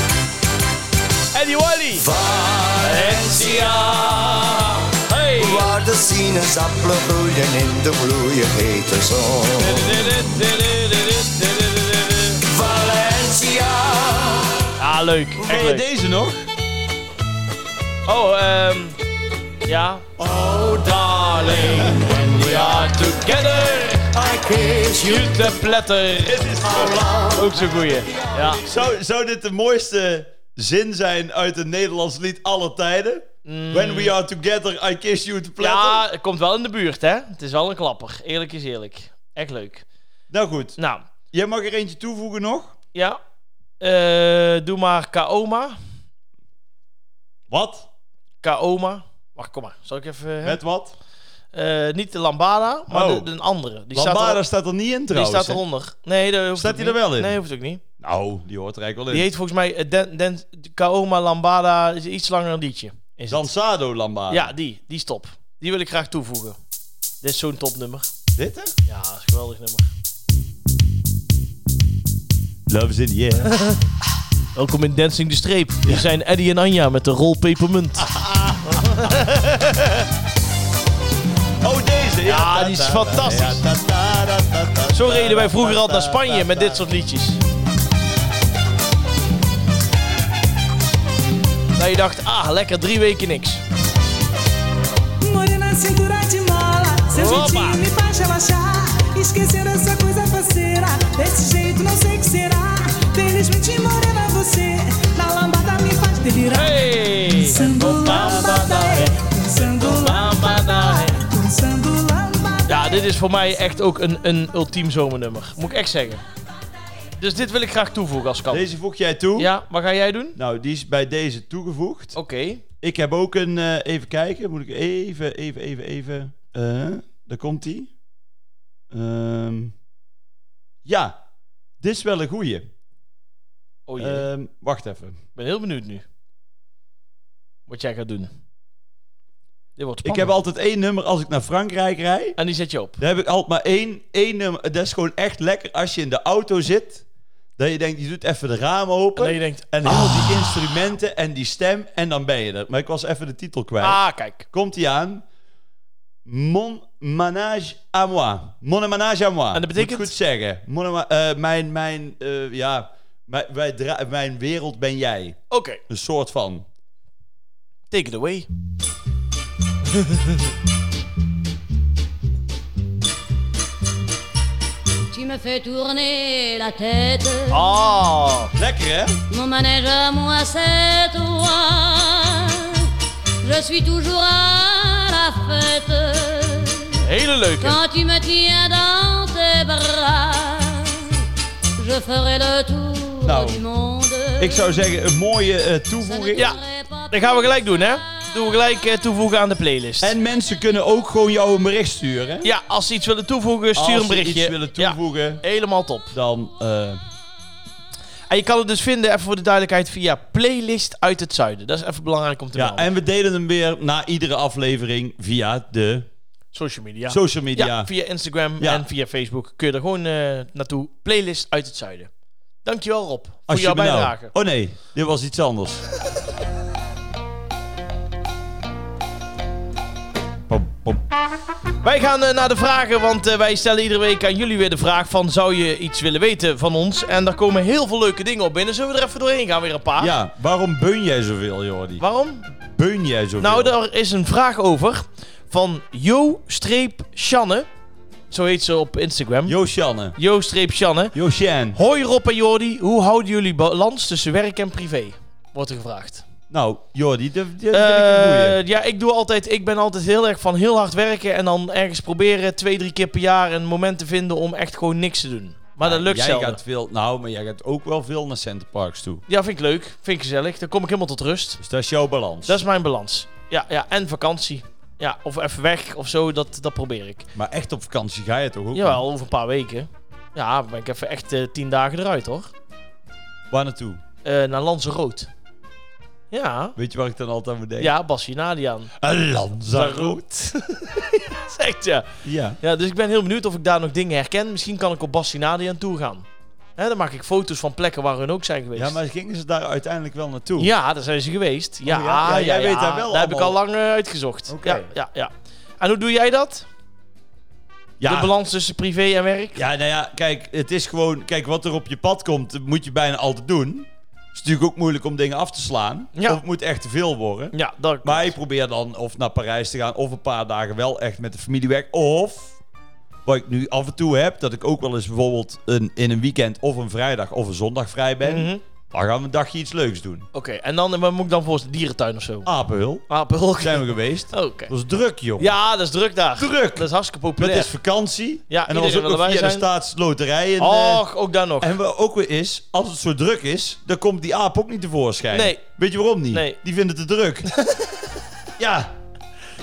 Eddie Wally. Valencia. Hey.
Waar de sinaasappelen bloeien in de bloeien hete zon.
Valencia. Ah, leuk. Echt
Ken je
leuk.
deze nog?
Oh, ehm... ja. Oh, darling, when we are together,
I kiss you.
you the platter. Ook zo'n goeie. Ja.
Zou, zou dit de mooiste zin zijn uit een Nederlands lied aller tijden? When we are together, I kiss you to platter.
Mm. Ja, het komt wel in de buurt, hè? Het is wel een klapper. Eerlijk is eerlijk. Echt leuk.
Nou goed,
Nou,
jij mag er eentje toevoegen nog.
ja. Eh, doe maar Kaoma.
Wat?
Kaoma. Wacht, kom maar. Zal ik even... hè?
Met wat?
Eh, niet de Lambada, maar
Oh.
de, de andere. Die
Lambada
staat,
staat er niet in
er, die
trouwens.
staat
hè?
eronder. Nee, dat hoeft
Staat
ook
die er
niet.
wel in?
Nee, hoeft ook niet.
Nou, die hoort er eigenlijk wel
Die
in.
heet volgens mij eh, Den, Den, Kaoma Lambada. Is een iets langer liedje. Is het.
Dansado Lambada.
Ja, die. Die is top. Die wil ik graag toevoegen. Dit is zo'n topnummer.
Dit hè?
Ja, dat is een geweldig nummer.
Love's in the air.
Welkom in Dancing de Streep. Hier zijn Eddie en Anja met de rol pepermunt.
Oh, deze. Ja,
Ja, die is fantastisch. Zo reden wij vroeger al naar Spanje met dit soort liedjes. Dat je dacht, ah, lekker drie weken niks.
Morena, cintura de mola. Seu
Opa!
jeitinho me faz relaxar. Esquecer essa coisa faceira. Desse jeito não sei o que será. Felizmente, morena, você. Na lambada me faz delirar.
Hey!
Dançando lambada, é. Dançando lambada, é. Dançando lambada.
Ja, dit is voor mij echt ook een, een ultiem zomernummer. Moet ik echt zeggen. Dus dit wil ik graag toevoegen als kan.
Deze voeg jij toe.
Ja, Oh. wat ga jij doen?
Nou, die is bij deze toegevoegd.
Oké.
Ik heb ook een... eh, even kijken. Moet ik even, even, even, even... Eh, daar komt die. Ehm, ja. Dit is wel een goeie.
Oh jee,
Ehm, wacht even.
ik ben heel benieuwd nu. Wat jij gaat doen. Dit wordt
Ik
spannend.
heb altijd één nummer als ik naar Frankrijk rijd.
En die zet je op.
Daar heb ik altijd maar één, één nummer. Dat is gewoon echt lekker als je in de auto zit. Dat je denkt, je doet even de ramen open.
En dat je denkt,
en heel die instrumenten en die stem. En dan ben je er. Maar ik was even de titel kwijt.
Ah, kijk.
Komt die aan. Mon manage à moi. Mon manage à moi.
dat betekent?
Moet ik goed zeggen. Mon, ama- eh, mijn, mijn, eh, ja, mijn, wij dra- mijn wereld ben jij.
Oké.
Een soort van.
Take it away.
Tu me fais tourner la tête.
Ah.
Lekker hè?
Mon manège à moi, c'est toi. Je suis toujours à la fête.
Hele leuke.
Quand tu me tiens dans tes bras, je ferai le tour
Nou,
du monde.
Ik zou zeggen, een mooie eh,
Ça ne
toevoeging.
Ja,
ferait pas
Dat gaan we gelijk doen, hè? Doen we gelijk eh, toevoegen aan de playlist.
En mensen kunnen ook gewoon jou een bericht sturen. hè?
ja, als ze iets willen toevoegen, stuur een
Als ze
berichtje.
iets willen
Ja,
toevoegen,
helemaal top.
dan... eh,
En je kan het dus vinden, even voor de duidelijkheid, via playlist uit het zuiden. Dat is even belangrijk om te
ja,
melden.
en we delen hem weer na iedere aflevering via de
Social media.
social
ja,
media.
via Instagram
Ja.
en via Facebook kun je er gewoon eh, naartoe. Playlist uit het zuiden. Dankjewel Rob, voor
Als je
jouw
me nou-
bijdrage.
Oh nee, dit was iets anders. Pom, pom.
Wij gaan eh, naar de vragen, want eh, wij stellen iedere week aan jullie weer de vraag van... zou je iets willen weten van ons? En daar komen heel veel leuke dingen op binnen. Zullen we er even doorheen gaan weer een paar?
Ja, waarom beun jij zoveel, Jordi?
Waarom?
Beun jij zoveel?
Nou, daar is een vraag over van Jo-Sjanne. Zo heet ze op Instagram.
Josjanne.
Jo-Sjanne.
Josjan.
Hoi Rob en Jordi, hoe houden jullie balans tussen werk en privé? Wordt er gevraagd.
Nou, Jordi, dat dat vind ik een goeie.
Eh, ja, ik doe altijd, ik ben altijd heel erg van heel hard werken en dan ergens proberen twee, drie keer per jaar een moment te vinden om echt gewoon niks te doen. Maar dat lukt
jij
zelden.
Gaat veel, nou, maar jij gaat ook wel veel naar Centerparks toe.
Ja, vind ik leuk. Vind ik gezellig. Dan kom ik helemaal tot rust.
Dus dat is jouw balans.
Dat is mijn balans. Ja, ja en vakantie. Ja, of even weg of zo, dat, dat probeer ik.
Maar echt op vakantie ga je toch ook?
Jawel, over een paar weken. Ja, ben ik even echt eh, tien dagen eruit hoor.
Waar naartoe?
Eh naar Lanzarote. Ja.
Weet je waar ik dan altijd aan moet denken?
Ja, Bassi Nadian.
Een Lanzarote.
Dat is echt, ja.
Ja.
ja. Dus ik ben heel benieuwd of ik daar nog dingen herken. Misschien kan ik op Bassi Nadian toe gaan. Hè, dan maak ik foto's van plekken waar hun ook zijn geweest.
ja, maar gingen ze daar uiteindelijk wel naartoe?
Ja, daar zijn ze geweest. Ja,
Oh, ja?
ja,
Ja, jij
ja.
weet daar wel
heb ik al
allemaal.
lang eh, uitgezocht.
Oké.
Ja, ja, ja. En hoe doe jij dat? De
ja.
balans tussen privé en werk?
Ja, nou ja, kijk, het is gewoon... Kijk, wat er op je pad komt, dat moet je bijna altijd doen. Het is natuurlijk ook moeilijk om dingen af te slaan.
Ja.
Of het moet echt te veel worden.
Ja, dat
Maar ik probeer dan of naar Parijs te gaan, of een paar dagen wel echt met de familie weg. Of, wat ik nu af en toe heb, dat ik ook wel eens bijvoorbeeld een, in een weekend of een vrijdag of een zondag vrij ben.
Mhm.
Dan gaan we een dagje iets leuks doen.
Oké, en dan, wat moet ik dan voor dierentuin of zo?
Apenhul
Apelhoek.
Ah. zijn we geweest.
Oh, Oké.
Dat was druk, joh.
Ja, dat is druk daar.
Druk.
Dat is hartstikke
Dat
populair.
is vakantie.
Ja,
en dan was
iedereen
ook
wil
nog
erbij
via de
zijn.
staatsloterij. En, eh,
Och, ook daar nog.
en wat ook weer is, als het zo druk is, dan komt die aap ook niet tevoorschijn.
Nee.
Weet je waarom niet?
Nee.
Die vinden het te druk. ja.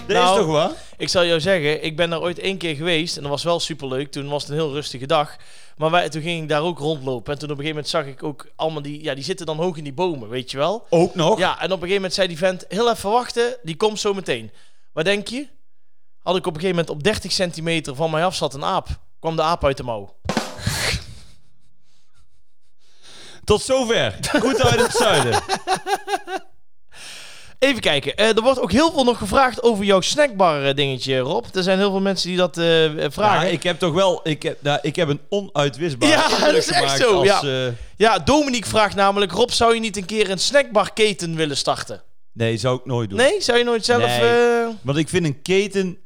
Dat
Nou,
is toch waar?
Ik zal jou zeggen, ik ben daar ooit één keer geweest en dat was wel superleuk. Toen was het een heel rustige dag. Maar wij, toen ging ik daar ook rondlopen. En toen op een gegeven moment zag ik ook allemaal die... Ja, die zitten dan hoog in die bomen, weet je wel?
Ook nog.
Ja, en op een gegeven moment zei die vent... Heel even wachten, die komt zo meteen. Wat denk je? Had ik op een gegeven moment op 30 centimeter van mij af zat een aap. Kwam de aap uit de mouw.
Tot zover. Goed uit het zuiden.
Even kijken. Eh, er wordt ook heel veel nog gevraagd over jouw snackbar eh, dingetje, Rob. Er zijn heel veel mensen die dat eh,
Ja,
vragen.
ik heb toch wel... Ik heb, nou, ik heb een onuitwisbaar
Ja,
indruk
dat is echt
gemaakt
zo,
Als,
ja.
eh,
Ja, Dominique vraagt namelijk: Rob, zou je niet een keer een snackbarketen willen starten?
nee, zou ik nooit doen.
Nee, zou je nooit zelf.
Nee.
eh,
Want ik vind een keten...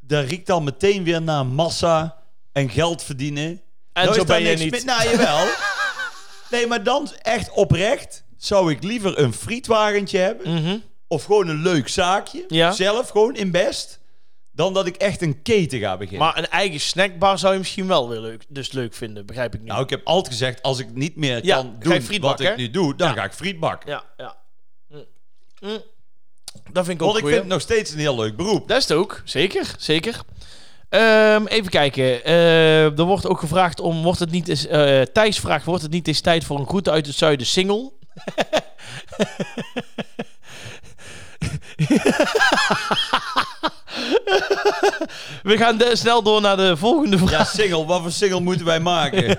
Daar riekt al meteen weer naar massa en geld verdienen.
En
Nou
zo
is daar
ben jij
niks
niet.
mis- nou, jawel. nee, maar dan echt oprecht zou ik liever een frietwagentje hebben.
mhm.
Of gewoon een leuk zaakje.
Ja.
Zelf, gewoon in best. Dan dat ik echt een keten ga beginnen.
Maar een eigen snackbar zou je misschien wel weer leuk, dus leuk vinden, begrijp ik nu.
Nou, ik heb altijd gezegd, als ik niet meer
Ja,
kan
ga je
doen
friet
wat
bakken,
ik
hè?
nu doe, dan ga ik friet bakken.
Ja, ja. Mm. Mm. Dat vind ik ook
Want ik
goed.
vind nou- het nog steeds een heel leuk beroep.
Dat is het ook, zeker, zeker. Ehm, even kijken. Eh, er wordt ook gevraagd om, wordt het niet eens, eh, Thijs vraagt, wordt het niet eens tijd voor een groeten uit het zuiden single? We gaan de- snel door naar de volgende vraag.
Ja, single, wat voor single moeten wij maken?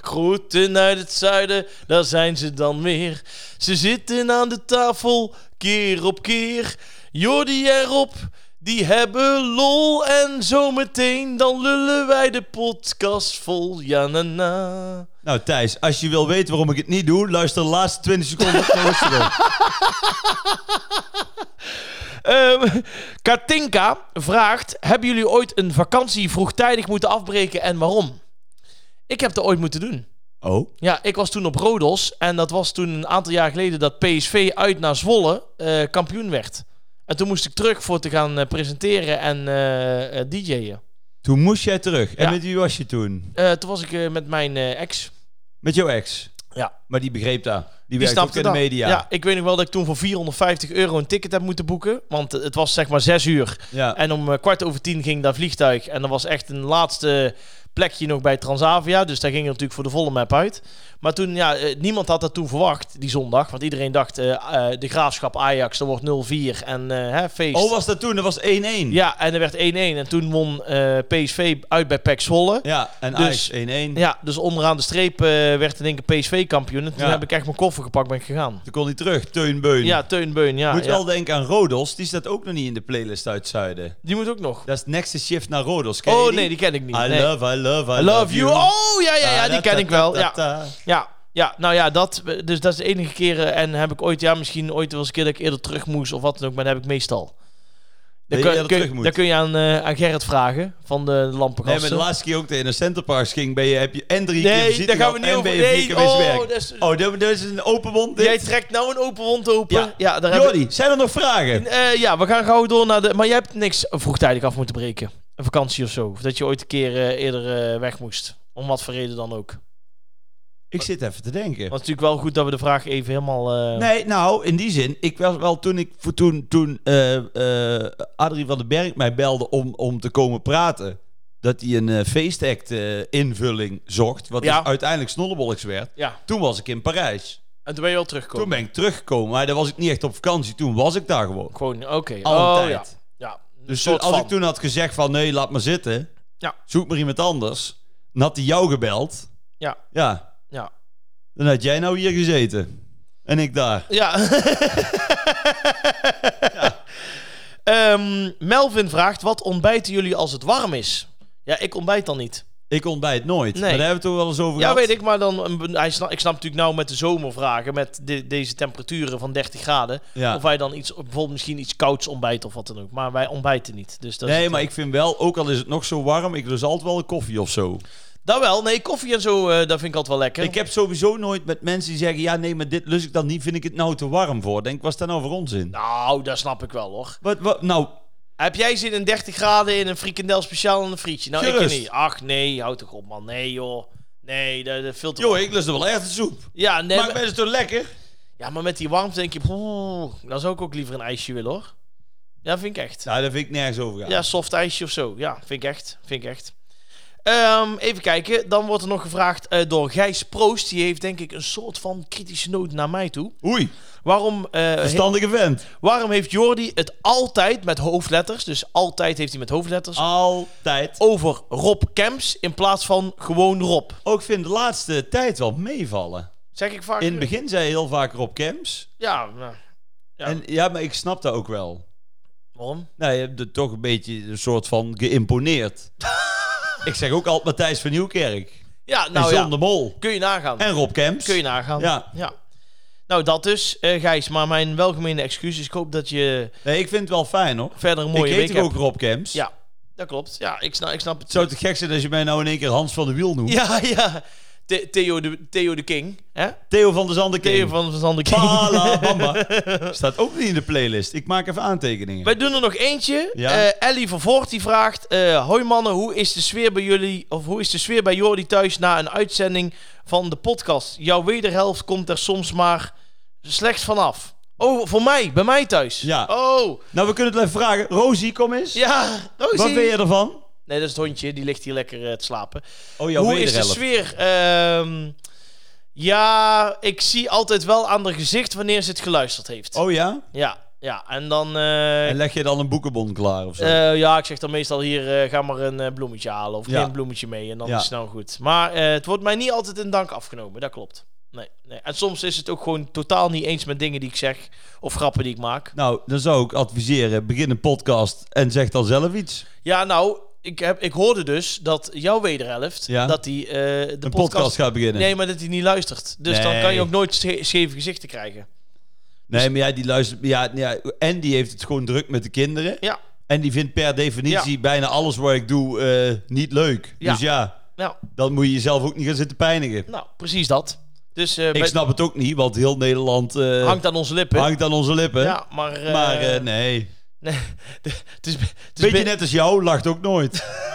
Groeten uit het zuiden, daar zijn ze dan weer. Ze zitten aan de tafel, keer op keer. Jordi en Rob, die hebben lol. En zometeen dan lullen wij de podcast vol. Ja, na, na.
nou Thijs, als je wil weten waarom ik het niet doe, luister de laatste 20 seconden van de show.
Ehm, Katinka vraagt, hebben jullie ooit een vakantie vroegtijdig moeten afbreken en waarom? Ik heb dat ooit moeten doen.
Oh,
Ja, ik was toen op Rodos. En dat was toen een aantal jaar geleden dat PSV uit naar Zwolle eh, kampioen werd. En toen moest ik terug voor te gaan eh, presenteren en eh eh, DJ'en.
toen moest jij terug. En
Ja.
met wie was je toen?
Eh, toen was ik eh, met mijn eh, ex.
Met jouw ex.
Ja.
Maar die begreep dat.
Die
Die, werkt ook
snapte
in de
dat.
media.
Ja, ik weet nog wel dat ik toen voor 450 euro een ticket heb moeten boeken. Want het was zeg maar zes uur.
Ja.
En om eh, kwart over tien ging dat vliegtuig. En dat was echt een laatste plekje nog bij Transavia. Dus daar ging er natuurlijk voor de volle map uit. Maar toen, ja, eh, niemand had dat toen verwacht, die zondag. Want iedereen dacht, eh, eh, de graafschap Ajax, dat wordt 0-4 en eh, hè, feest.
Oh, was dat toen? Dat was 1-1.
Ja, en er werd 1-1. En toen won eh, PSV uit bij PEC Zwolle. Ja.
Ja, en
Dus-
Ajax 1-1.
dus onderaan de streep eh, werd in één keer PSV kampioen. En toen
Ja.
heb ik echt mijn koffer gepakt ben ik gegaan.
Toen kon hij terug, Teun Beun.
Ja, Teun Beun, ja.
Moet
ja.
wel denken aan Rodos, die staat ook nog niet in de playlist uit Zuiden.
Die moet ook nog.
Dat is Next Shift naar Rodos. Ken je
Oh
die?
nee, die ken ik niet.
I
Nee.
love, I love, I,
I love you. Oh, ja, ja, ja, die ken ik wel. Ja.
Ta-ta-ta-ta-ta.
Ja, ja, nou ja, dat, dus dat is de enige keren. En heb ik ooit, ja, misschien ooit wel eens een keer dat ik eerder terug moest of wat dan ook, maar dat heb ik meestal.
Dat
Dan kun,
je eerder
kun-
terug moet.
dan kun je aan, eh, aan Gerrit vragen van de
Nee,
lampengasten.
maar de laatste keer ook dat je naar Centerparks ging, ben je, heb je en drie keer
Nee,
visite
daar gaan we
gehad
niet
en
over-
ben je vier
nee,
keer miswerkt.
oh, dat is-
Oh, dat, dat is een open wond dit?
Jij trekt nou een open wond open.
Ja.
Ja, daar heb
Jordi, zijn er nog vragen?
ik- Eh, ja, we gaan gauw door naar de... Maar jij hebt niks vroegtijdig af moeten breken. Een vakantie of zo. Of dat je ooit een keer eh, eerder eh, weg moest. Om wat voor reden dan ook. Want
Ik zit even te denken.
het is natuurlijk wel goed dat we de vraag even helemaal... eh,
Nee, nou, in die zin, ik was wel toen ik voor- toen, toen eh, eh, Adrie van den Berg mij belde om, om te komen praten, dat hij een eh, feestact eh, invulling zocht, wat
Ja.
dus uiteindelijk Snollebolleks werd.
Ja,
Toen was ik in Parijs.
en toen ben je wel
Toen
teruggekomen.
ben ik teruggekomen, maar dan was ik niet echt op vakantie. Toen was ik daar gewoon.
Gewoon, oké.
Al een
Oh, ja.
tijd.
ja. een
Dus toen-
soort
als
van.
ik toen had gezegd van nee, laat maar zitten,
Ja.
zoek maar iemand anders, dan had hij jou gebeld.
Ja.
Ja.
Ja.
Dan had jij nou hier gezeten. En ik daar.
Ja. Ehm, Melvin vraagt: wat ontbijten jullie als het warm is? Ja, ik ontbijt dan niet.
Ik ontbijt nooit.
Nee.
Maar daar hebben we het toch wel eens
Ja,
over gehad.
weet ik, maar dan. een- Hij sna- ik snap natuurlijk nou met de zomervragen, met de- deze temperaturen van 30 graden.
Ja.
Of wij dan iets, bijvoorbeeld misschien iets kouds ontbijten of wat dan ook. Maar wij ontbijten niet. Dus dat, is
Nee,
het-
maar ik vind wel, ook al is het nog zo warm, ik lust altijd wel een koffie of zo.
Dat Nou wel, nee, koffie en zo, eh, dat vind ik altijd wel lekker.
Ik heb sowieso nooit met mensen die zeggen, ja nee, maar dit lust ik dan niet, vind ik het nou te warm voor. Denk, was dat nou voor onzin? Nou,
Nou, dat snap ik wel hoor.
wat, wat, nou
Heb jij zin in 30 graden in een frikandel speciaal en een frietje? Nou, ik
Gerust.
niet. Ach nee, houd toch op man. Nee joh. Nee, dat, dat veel te
joh, ik lust er wel echt een soep.
Ja, nee,
maar
maar-
ik ben het toch lekker?
ja, maar met die warmte denk je, poeh, dan zou ik ook liever een ijsje willen hoor. Ja, vind ik echt. Ja,
Nou, daar vind ik nergens over gaan.
soft ijsje of zo. Ja, vind ik echt. Vind ik echt. Ehm, even kijken, dan wordt er nog gevraagd eh, door Gijs Proost. Die heeft denk ik een soort van kritische noot naar mij toe.
Oei,
Waarom, eh, he-
verstandige vent.
waarom heeft Jordi het altijd met hoofdletters, dus altijd heeft hij met hoofdletters,
Altijd.
over Rob Kemps in plaats van gewoon Rob?
Ook ik vind de laatste tijd wel meevallen.
Zeg ik vaak.
In het begin zei je heel vaak Rob Camps.
Ja, nou, Ja.
En, ja, maar ik snap dat ook wel.
waarom?
Nou, je hebt er toch een beetje een soort van geïmponeerd. ik zeg ook altijd Matthijs van Nieuwkerk.
Ja,
en
nou
John
ja.
de Mol.
Kun je nagaan.
En Rob Kemps.
Kun je nagaan.
Ja.
Nou, dat dus, eh, Gijs. Maar mijn welgemeende excuses. Ik hoop dat je
Nee, ik vind het wel fijn hoor.
verder een
Ik
mooie week
heet toch
hebt.
ook Rob Kemps?
Ja, dat klopt. Ja, ik snap, ik snap het.
Zou het te gek zijn als je mij nou in één keer Hans van de Wiel noemt?
Ja, ja. The- Theo de, Theo de King. Hè?
Theo van der Zanden
Theo
King.
van Van de King.
Palabamba. Staat ook niet in de playlist. Ik maak even aantekeningen.
Wij doen er nog eentje.
Ja.
Eh, Ellie van Voort die vraagt: eh Hoi mannen, hoe is de sfeer bij jullie? Of hoe is de sfeer bij Jordi thuis na een uitzending van de podcast? Jouw wederhelft komt er soms maar slechts vanaf. Oh, voor mij, bij mij thuis.
Ja.
Oh,
Nou, we kunnen het wel even vragen. Rosie, kom eens.
ja. Rosie.
Wat vind je ervan?
Nee, dat is het hondje. Die ligt hier lekker eh, te slapen.
Oh, jouw
Hoe is de
wederhelft.
sfeer? Ehm, ja, ik zie altijd wel aan haar gezicht wanneer ze het geluisterd heeft.
Oh ja?
Ja, ja. En dan... eh,
En leg je dan een boekenbon klaar of zo?
eh, ja, ik zeg dan meestal hier, eh, ga maar een eh, bloemetje halen. Of
Ja.
neem een bloemetje mee en dan
Ja.
is het nou goed. Maar eh, het wordt mij niet altijd in dank afgenomen, dat klopt. Nee, nee. En soms is het ook gewoon totaal niet eens met dingen die ik zeg. Of grappen die ik maak.
Nou, dan zou ik adviseren, begin een podcast en zeg dan zelf iets.
Ja, nou, ik, heb, ik hoorde dus dat jouw wederhelft,
Ja.
dat die eh, de
Een podcast,
podcast
gaat beginnen.
Nee, maar dat hij niet luistert. Dus dan
Nee.
kan je ook nooit sche- scheve gezichten krijgen. Dus-
Nee, maar ja, die luistert. Ja, ja, en die heeft het gewoon druk met de kinderen.
Ja,
En die vindt per definitie bijna alles wat ik doe eh, niet leuk.
Ja.
Dus ja,
nou,
dan moet je jezelf ook niet gaan zitten pijnigen.
nou precies dat. Dus eh,
Ik
bij-
snap het ook niet, want heel Nederland eh,
hangt aan onze lippen.
hangt aan onze lippen.
ja, maar... eh,
Maar eh, nee.
nee, het is, het is
Beetje
be-
net als jou, lacht ook nooit.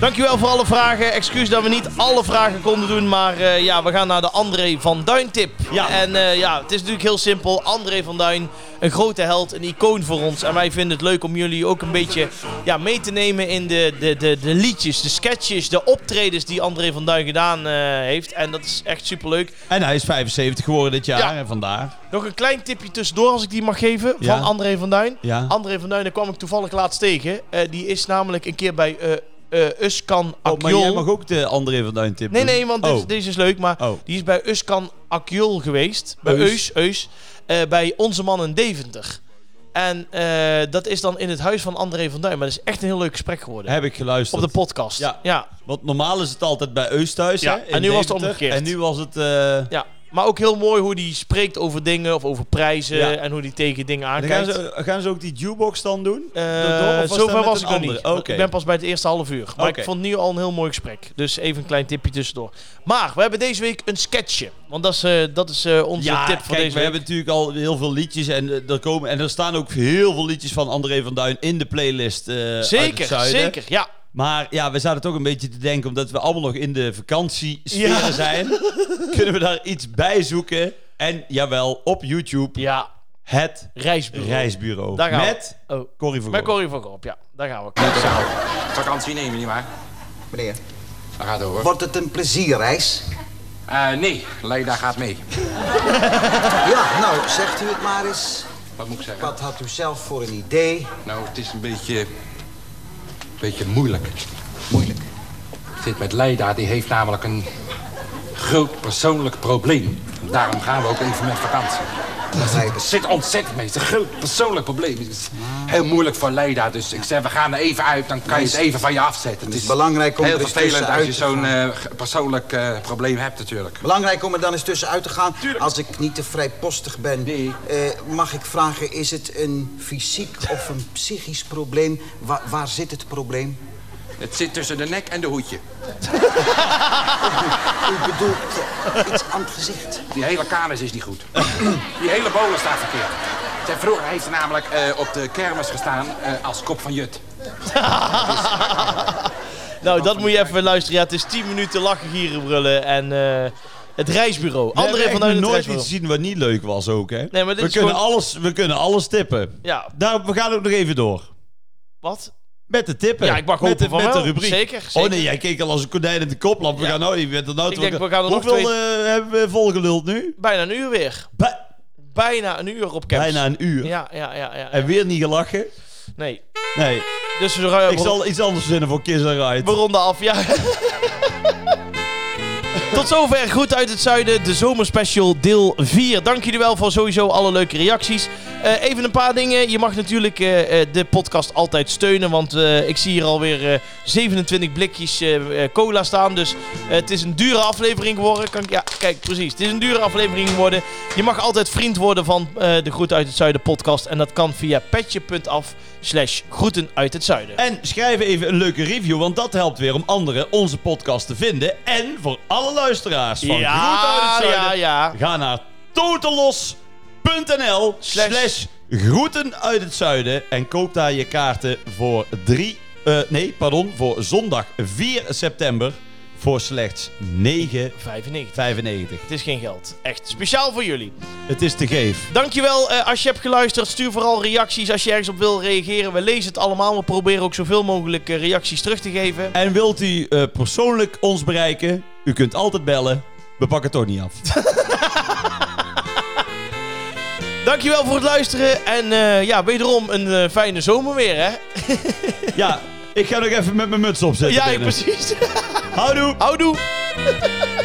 Dankjewel voor alle vragen. Excuus dat we niet alle vragen konden doen. Maar eh, ja, we gaan naar de André van Duin tip.
Ja.
En eh, ja, het is natuurlijk heel simpel. André van Duin, een grote held, een icoon voor ons. En wij vinden het leuk om jullie ook een beetje ja, mee te nemen in de, de, de, de liedjes, de sketches, de optredens die André van Duin gedaan eh, heeft. En dat is echt superleuk.
En hij is 75 geworden dit jaar
Ja.
en vandaag.
Nog een klein tipje tussendoor, als ik die mag geven,
Ja.
van André van Duin.
Ja.
André van Duin, daar kwam ik toevallig laatst tegen. Eh, die is namelijk een keer bij eh eh Uskan Akjol.
Oh, maar jij mag ook de André van Duin tip
Nee,
doen.
nee, want deze,
Oh.
deze is dus leuk, maar
Oh.
die is bij Uskan Akjol geweest. Bij
Eus.
Eus, Eus. eh, bij Onze Man in Deventer. En eh, dat is dan in het huis van André van Duin. Maar dat is echt een heel leuk gesprek geworden.
Heb ik
op
geluisterd.
de podcast.
Ja.
ja.
Want normaal is het altijd bij Eus thuis.
Ja,
hè, in
en nu was het
Deventer.
omgekeerd.
En nu was het. eh,
Ja. Maar ook heel mooi hoe die spreekt over dingen of over prijzen
Ja.
en hoe die tegen dingen
dan
aankijkt.
gaan, ze, gaan ze ook die jukebox dan doen?
Eh,
Door- of was dat
zover
met
was
een
ik nog
andere?
niet.
Oké.
Ik ben pas bij het eerste half uur. Maar
Oké.
ik vond nu al een heel mooi gesprek. Dus even een klein tipje tussendoor. Maar we hebben deze week een sketchje. Want dat is, eh, dat is eh, onze
Ja,
tip
kijk,
voor
we
deze week.
hebben natuurlijk al heel veel liedjes en eh, er komen en er staan ook heel veel liedjes van André van Duin in de playlist. eh, uit het
Zeker,
zuiden.
zeker. Ja,
Maar ja, we zaten toch een beetje te denken, omdat we allemaal nog in de vakantiesfeer
Ja.
zijn, kunnen we daar iets bij zoeken. En jawel, op YouTube
ja.
het
Reisbureau.
reisbureau
Daar gaan we.
met
Oh.
Corrie van
Met
Gorp.
Corrie van Gorp, ja. Daar gaan we.
Vakantie nemen, nietwaar?
Meneer,
Daar gaat door.
wordt het een plezierreis?
Eh, nee, Leida gaat mee.
Ja, nou, zegt u het maar eens.
Wat moet ik zeggen?
Wat had u zelf voor een idee?
Nou, het is een beetje... Een beetje moeilijk.
Moeilijk.
Dit met Leida, die heeft namelijk een groot persoonlijk probleem. Daarom gaan we ook even met vakantie.
Begrijp
Er
het.
zit ontzettend mee. Het is een groot persoonlijk probleem. Het is heel moeilijk voor Leida. Dus ik zeg, we gaan er even uit. Dan kan je het even van je afzetten.
Het is belangrijk om
heel
er eens
vervelend als je
tussenuit te
zo'n eh, persoonlijk eh, probleem hebt natuurlijk.
Belangrijk om er dan eens tussenuit te gaan. Als ik niet te vrijpostig ben,
Nee.
eh, mag ik vragen: is het een fysiek of een psychisch probleem? Wa- waar zit het probleem?
Het zit tussen de nek en de hoedje.
U bedoelt eh, iets aan het gezicht.
Die hele kanus is niet goed. Die hele bolen staat verkeerd. Zij vroeger heeft ze namelijk eh, op de kermis gestaan eh, als kop van Jut.
Nou, dat moet je even luisteren. Ja, het is 10 minuten lachen, gieren, brullen en eh, het reisbureau.
We hebben
André
echt
van Duin, het
nooit
reisbureau.
iets zien wat niet leuk was ook, hè?
maar dit
we,
is
kunnen
gewoon-
alles, we kunnen alles tippen.
Ja,
Nou, we gaan ook nog even door.
wat?
Met de tippen.
Ja, ik mag
met de,
hopen van
met de
wel.
rubriek.
Zeker,
Oh
zeker.
nee, jij keek al als een konijn in de koplamp. We
Ja.
gaan nou, je bent er nou
Ik
toch-
denk, we gaan er nog
Hoeveel eh, hebben we volgeluld nu?
Bijna een uur weer.
Bij-
Bijna een uur op campus.
bijna een uur.
Ja, ja, ja. ja.
En weer niet gelachen?
Nee.
Nee.
Dus we, gaan-
Ik zal iets anders verzinnen voor Kiss and Ride.
we ronden af, ja. Tot zover Goed uit het Zuiden, de zomerspecial deel 4. Dank jullie wel voor sowieso alle leuke reacties. Eh, even een paar dingen. Je mag natuurlijk eh, eh, de podcast altijd steunen. Want eh, ik zie hier alweer eh 27 blikjes eh, eh, cola staan. Dus eh, het is een dure aflevering geworden. Kan ik- ja, kijk, precies. Het is een dure aflevering geworden. Je mag altijd vriend worden van eh, de Groeten uit het Zuiden podcast. En dat kan via petje.af slash groeten uit het zuiden.
En schrijf even een leuke review, want dat helpt weer om anderen onze podcast te vinden. En voor alle luisteraars van Groet uit het Zuiden,
ja, ja.
ga naar totalos.nl
Slash.
slash groeten uit het zuiden en koop daar je kaarten voor 3, eh, nee, pardon, voor zondag 4 september voor slechts 9,95.
95. Het is geen geld. Echt. Speciaal voor jullie.
Het is te geef.
Dankjewel eh als je hebt geluisterd. Stuur vooral reacties als je ergens op wil reageren. We lezen het allemaal. We proberen ook zoveel mogelijk eh, reacties terug te geven.
En wilt u eh, persoonlijk ons bereiken? U kunt altijd bellen. We pakken het toch niet af.
Dankjewel voor het luisteren. En eh, ja, wederom een eh, fijne zomer weer, hè?
ja, ik ga nog even met mijn muts opzetten.
Ja,
binnen.
precies.
Houdoe!
Houdoe!